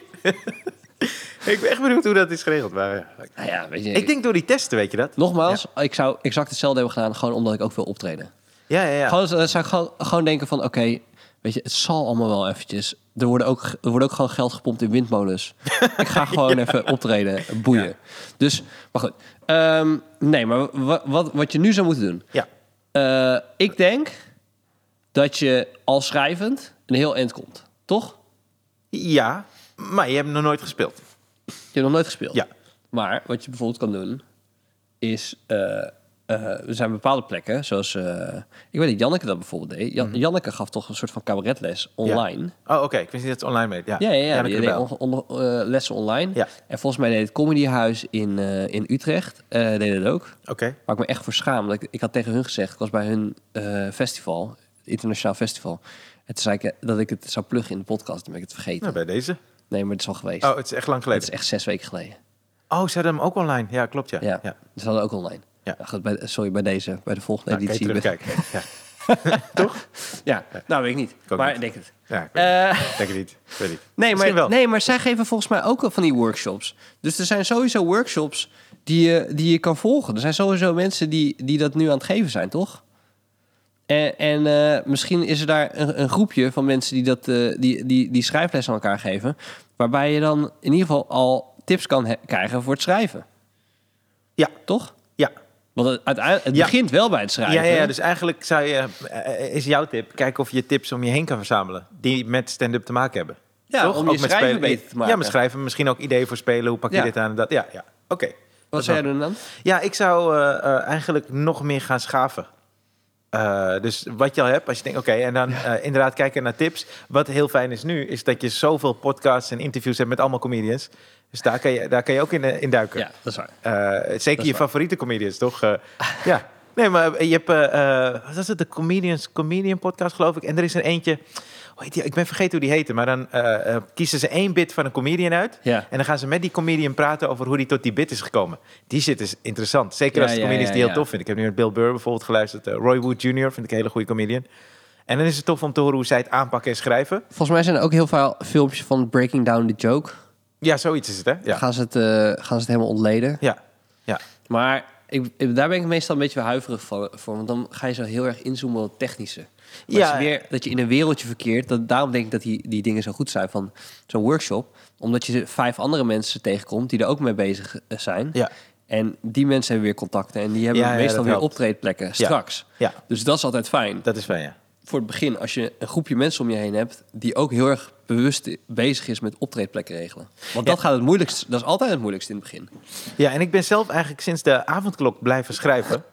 Speaker 1: ik ben echt benieuwd hoe dat is geregeld. Maar, ja.
Speaker 2: Nou ja, weet je.
Speaker 1: Ik denk door die testen, weet je dat?
Speaker 2: Nogmaals, ik zou exact hetzelfde hebben gedaan, gewoon omdat ik ook wil optreden.
Speaker 1: Ja, ja, ja.
Speaker 2: Gewoon, dan zou ik gewoon, gewoon denken van, oké, weet je, het zal allemaal wel eventjes. Er, worden ook, er wordt ook gewoon geld gepompt in windmolens. ik ga gewoon even optreden, boeien. Dus, maar goed. Ehm, nee, maar wa- wat, wat je nu zou moeten doen.
Speaker 1: ja.
Speaker 2: Eh, ik denk dat je al schrijvend een heel eind komt, toch?
Speaker 1: ja, maar je hebt nog nooit gespeeld.
Speaker 2: Je hebt nog nooit gespeeld.
Speaker 1: Ja.
Speaker 2: Maar wat je bijvoorbeeld kan doen, is... eh, eh, er zijn bepaalde plekken, zoals... eh, ik weet dat Janneke dat bijvoorbeeld deed. Jan- Janneke gaf toch een soort van cabaretles
Speaker 1: Mhm. Ja.
Speaker 2: online.
Speaker 1: Oh, oké. Ik wist niet dat het online werd. Ja,
Speaker 2: Ja, ja, ja.
Speaker 1: dan
Speaker 2: die
Speaker 1: kun je
Speaker 2: deed
Speaker 1: wel.
Speaker 2: on- on- eh, lessen online.
Speaker 1: Ja.
Speaker 2: En volgens mij deed het Comedyhuis in, eh, in Utrecht. eh, deed het ook.
Speaker 1: Oké.
Speaker 2: Waar ik me echt voor schaam. want Ik, ik had tegen hun gezegd, ik was bij hun eh, festival, het internationaal festival. En toen zei ik eh, dat ik het zou pluggen in de podcast. Dan ben ik het vergeten.
Speaker 1: Nou, bij deze.
Speaker 2: Nee, maar het is al geweest.
Speaker 1: Oh, het is echt lang
Speaker 2: Het
Speaker 1: geleden.
Speaker 2: is echt zes weken geleden.
Speaker 1: Oh, ze hadden hem ook online. Ja, klopt, ja.
Speaker 2: Ja,
Speaker 1: ja.
Speaker 2: ze hadden ook online.
Speaker 1: Ja.
Speaker 2: Nou, goed, bij, sorry, bij deze, bij de volgende
Speaker 1: Nou, kan je
Speaker 2: editie.
Speaker 1: terugkijken. ja.
Speaker 2: Ja, nou weet ik niet.
Speaker 1: ook
Speaker 2: maar
Speaker 1: niet.
Speaker 2: ik denk het.
Speaker 1: Ja, ik weet
Speaker 2: Eh,
Speaker 1: het. Denk het niet. Ik weet het niet.
Speaker 2: nee,
Speaker 1: Misschien
Speaker 2: maar,
Speaker 1: wel.
Speaker 2: nee, maar zij geven volgens mij ook wel van die workshops. Dus er zijn sowieso workshops die je, die je kan volgen. Er zijn sowieso mensen die, die dat nu aan het geven zijn, toch? En, en eh, misschien is er daar een, een groepje van mensen die, dat, eh, die, die, die schrijfles aan elkaar geven. Waarbij je dan in ieder geval al tips kan he- krijgen voor het schrijven.
Speaker 1: Ja,
Speaker 2: Toch?
Speaker 1: ja.
Speaker 2: Want het, uiteindelijk, het
Speaker 1: Ja.
Speaker 2: begint wel bij het
Speaker 1: Ja,
Speaker 2: schrijven.
Speaker 1: ja, ja, dus eigenlijk zou je, eh, eh, is jouw tip, kijk of je tips om je heen kan verzamelen die met stand-up te maken hebben.
Speaker 2: Ja,
Speaker 1: Toch?
Speaker 2: om je schrijven
Speaker 1: spelen-
Speaker 2: beter te maken.
Speaker 1: Ja, maar schrijven. Misschien ook ideeën voor spelen. Hoe pak je
Speaker 2: Ja.
Speaker 1: dit aan en dat? Ja, ja. Oké.
Speaker 2: Wat zou jij doen dan?
Speaker 1: Ja, ik zou eh, eh, eigenlijk nog meer gaan schaven. Eh, dus wat je al hebt, als je denkt, oké, en dan eh, inderdaad kijken naar tips. Wat heel fijn is nu, is dat je zoveel podcasts en interviews hebt met allemaal comedians. Dus daar kan je, daar kan je ook in, eh, in duiken.
Speaker 2: Ja, dat is waar.
Speaker 1: Eh, zeker
Speaker 2: is
Speaker 1: je
Speaker 2: waar.
Speaker 1: favoriete comedians, toch? Eh, ja. Nee, maar je hebt, eh, eh, wat is het, de Comedians Comedian podcast, geloof ik. En er is er eentje, hoe heet die? ik ben vergeten hoe die heette, maar dan eh, eh, kiezen ze één bit van een comedian uit.
Speaker 2: Ja.
Speaker 1: En dan gaan ze met die comedian praten over hoe die tot die bit is gekomen. Die shit is interessant. Zeker
Speaker 2: Ja,
Speaker 1: als het
Speaker 2: ja,
Speaker 1: comedians
Speaker 2: ja,
Speaker 1: die heel
Speaker 2: ja.
Speaker 1: tof vind. Ik heb nu met Bill Burr bijvoorbeeld geluisterd. eh, Roy Wood Jr. vind ik een hele goede comedian. En dan is het tof om te horen hoe zij het aanpakken en schrijven.
Speaker 2: Volgens mij zijn er ook heel veel filmpjes van Breaking Down the Joke.
Speaker 1: Ja, zoiets is het, hè? Ja.
Speaker 2: Gaan, ze het, eh, gaan ze het helemaal ontleden.
Speaker 1: Ja. ja.
Speaker 2: Maar ik, ik- daar ben ik meestal een beetje huiverig van, voor. Want dan ga je zo heel erg inzoomen op het technische. Maar
Speaker 1: Ja.
Speaker 2: het is meer dat je in een wereldje verkeert. Dat, daarom denk ik dat die, die dingen zo goed zijn van zo'n workshop. Omdat je vijf andere mensen tegenkomt die er ook mee bezig eh, zijn.
Speaker 1: Ja.
Speaker 2: En die mensen hebben weer contacten. En die hebben
Speaker 1: Ja, ja,
Speaker 2: meestal
Speaker 1: dat
Speaker 2: weer
Speaker 1: helpt.
Speaker 2: optreedplekken straks.
Speaker 1: Ja.
Speaker 2: Dus dat is altijd fijn.
Speaker 1: Dat is fijn, ja.
Speaker 2: Voor het begin, als je een groepje mensen om je heen hebt... die ook heel erg bewust bezig is met optreedplekken regelen. Want dat, gaat het moeilijkst, dat is altijd het moeilijkst in het begin.
Speaker 1: Ja, en ik ben zelf eigenlijk sinds de avondklok blijven schrijven.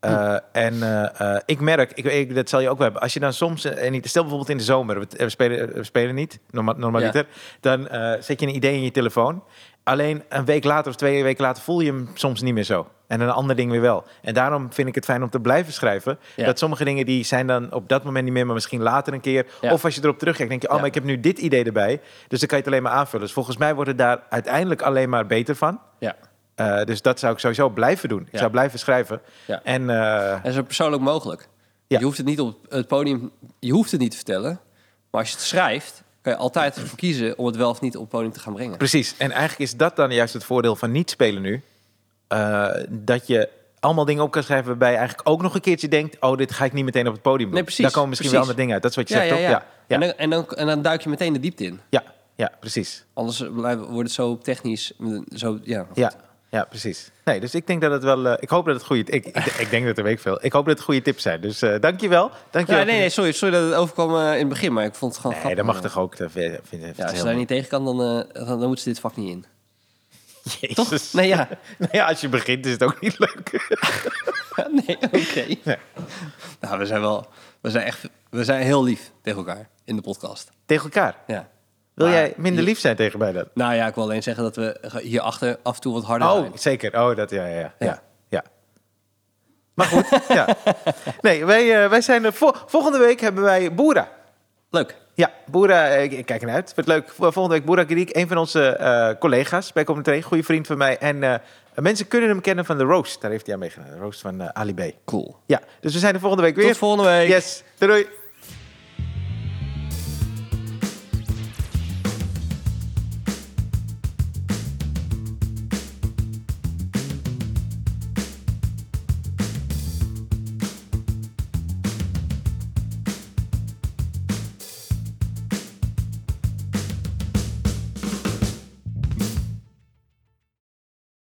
Speaker 2: Hm.
Speaker 1: Eh, en eh, eh, ik merk, ik, ik- dat zal je ook wel hebben. Als je dan soms, eh, en niet, stel bijvoorbeeld in de zomer, we, we spelen, eh, we spelen niet, norma- normaliter. Dan eh, zet je een idee in je telefoon. Alleen een week later of twee weken later voel je hem soms niet meer zo. En een ander ding weer wel. En daarom vind ik het fijn om te blijven schrijven.
Speaker 2: Ja.
Speaker 1: Dat sommige dingen die zijn dan op dat moment niet meer, maar misschien later een keer.
Speaker 2: Ja.
Speaker 1: Of als je erop terugkijkt, denk je, oh,
Speaker 2: Ja.
Speaker 1: maar ik heb nu dit idee erbij. Dus dan kan je het alleen maar aanvullen. Dus volgens mij wordt het daar uiteindelijk alleen maar beter van.
Speaker 2: Ja.
Speaker 1: Eh, dus dat zou ik sowieso blijven doen. Ik
Speaker 2: Ja.
Speaker 1: zou blijven schrijven.
Speaker 2: Ja.
Speaker 1: En eh,
Speaker 2: En zo persoonlijk mogelijk.
Speaker 1: Ja.
Speaker 2: Je hoeft het niet op het podium, je hoeft het niet te vertellen. Maar als je het schrijft, kan je altijd ervoor kiezen om het wel of niet op het podium te gaan brengen.
Speaker 1: precies. En eigenlijk is dat dan juist het voordeel van niet spelen nu. Eh, dat je allemaal dingen op kan schrijven waarbij je eigenlijk ook nog een keertje denkt... oh, dit ga ik niet meteen op het podium doen.
Speaker 2: Nee, precies,
Speaker 1: Daar komen misschien
Speaker 2: precies.
Speaker 1: wel andere dingen uit. Dat is wat je zegt, toch? Ja,
Speaker 2: En,
Speaker 1: ja,
Speaker 2: dan, en, dan, en dan duik je meteen de diepte in.
Speaker 1: ja, ja, precies.
Speaker 2: Anders blijft- wordt het zo technisch. Zo, ja,
Speaker 1: Ja, ja, precies. Nee, dus ik denk dat het wel... eh, ik hoop dat het goede... Ik, ik, ik denk dat er week veel. Ik hoop dat het goede tips zijn. Dus eh dankjewel.
Speaker 2: Ja,
Speaker 1: Dankjewel.
Speaker 2: nee, nee, sorry, sorry dat het overkwam eh, in het begin, maar ik vond het gewoon
Speaker 1: Nee,
Speaker 2: grappig.
Speaker 1: dat mag toch ook. Dat vind, vind, vind
Speaker 2: Ja, als je daar niet tegen kan, dan, eh, dan, dan moet ze dit vak niet in.
Speaker 1: Jezus.
Speaker 2: Nee, ja.
Speaker 1: Nou ja, als je begint is het ook niet leuk.
Speaker 2: nee, oké. Nou, we zijn wel, we zijn echt, we zijn heel lief tegen elkaar in de podcast.
Speaker 1: Tegen elkaar.
Speaker 2: Ja.
Speaker 1: Wil
Speaker 2: Maar
Speaker 1: jij minder
Speaker 2: je-
Speaker 1: lief zijn tegen mij dan?
Speaker 2: Nou ja, ik wil alleen zeggen dat we hierachter af en toe wat harder
Speaker 1: Oh,
Speaker 2: zijn.
Speaker 1: zeker. Oh, dat ja, ja, ja. ja.
Speaker 2: Ja.
Speaker 1: ja. Maar goed, ja. Nee, wij, eh, wij zijn er vol- volgende week hebben wij Boera.
Speaker 2: Leuk.
Speaker 1: Ja, Boera, eh, ik, ik kijk ernaar uit. Vindt het leuk. Vo- Volgende week Boera Griek, een van onze eh collega's bij Commentary, goede vriend van mij. En eh, mensen kunnen hem kennen van de Roast. Daar heeft hij aan meegedaan. De Roast van eh, Ali B.
Speaker 2: Cool.
Speaker 1: Ja, dus we zijn er volgende week weer.
Speaker 2: Tot volgende week.
Speaker 1: Yes, doei. doei.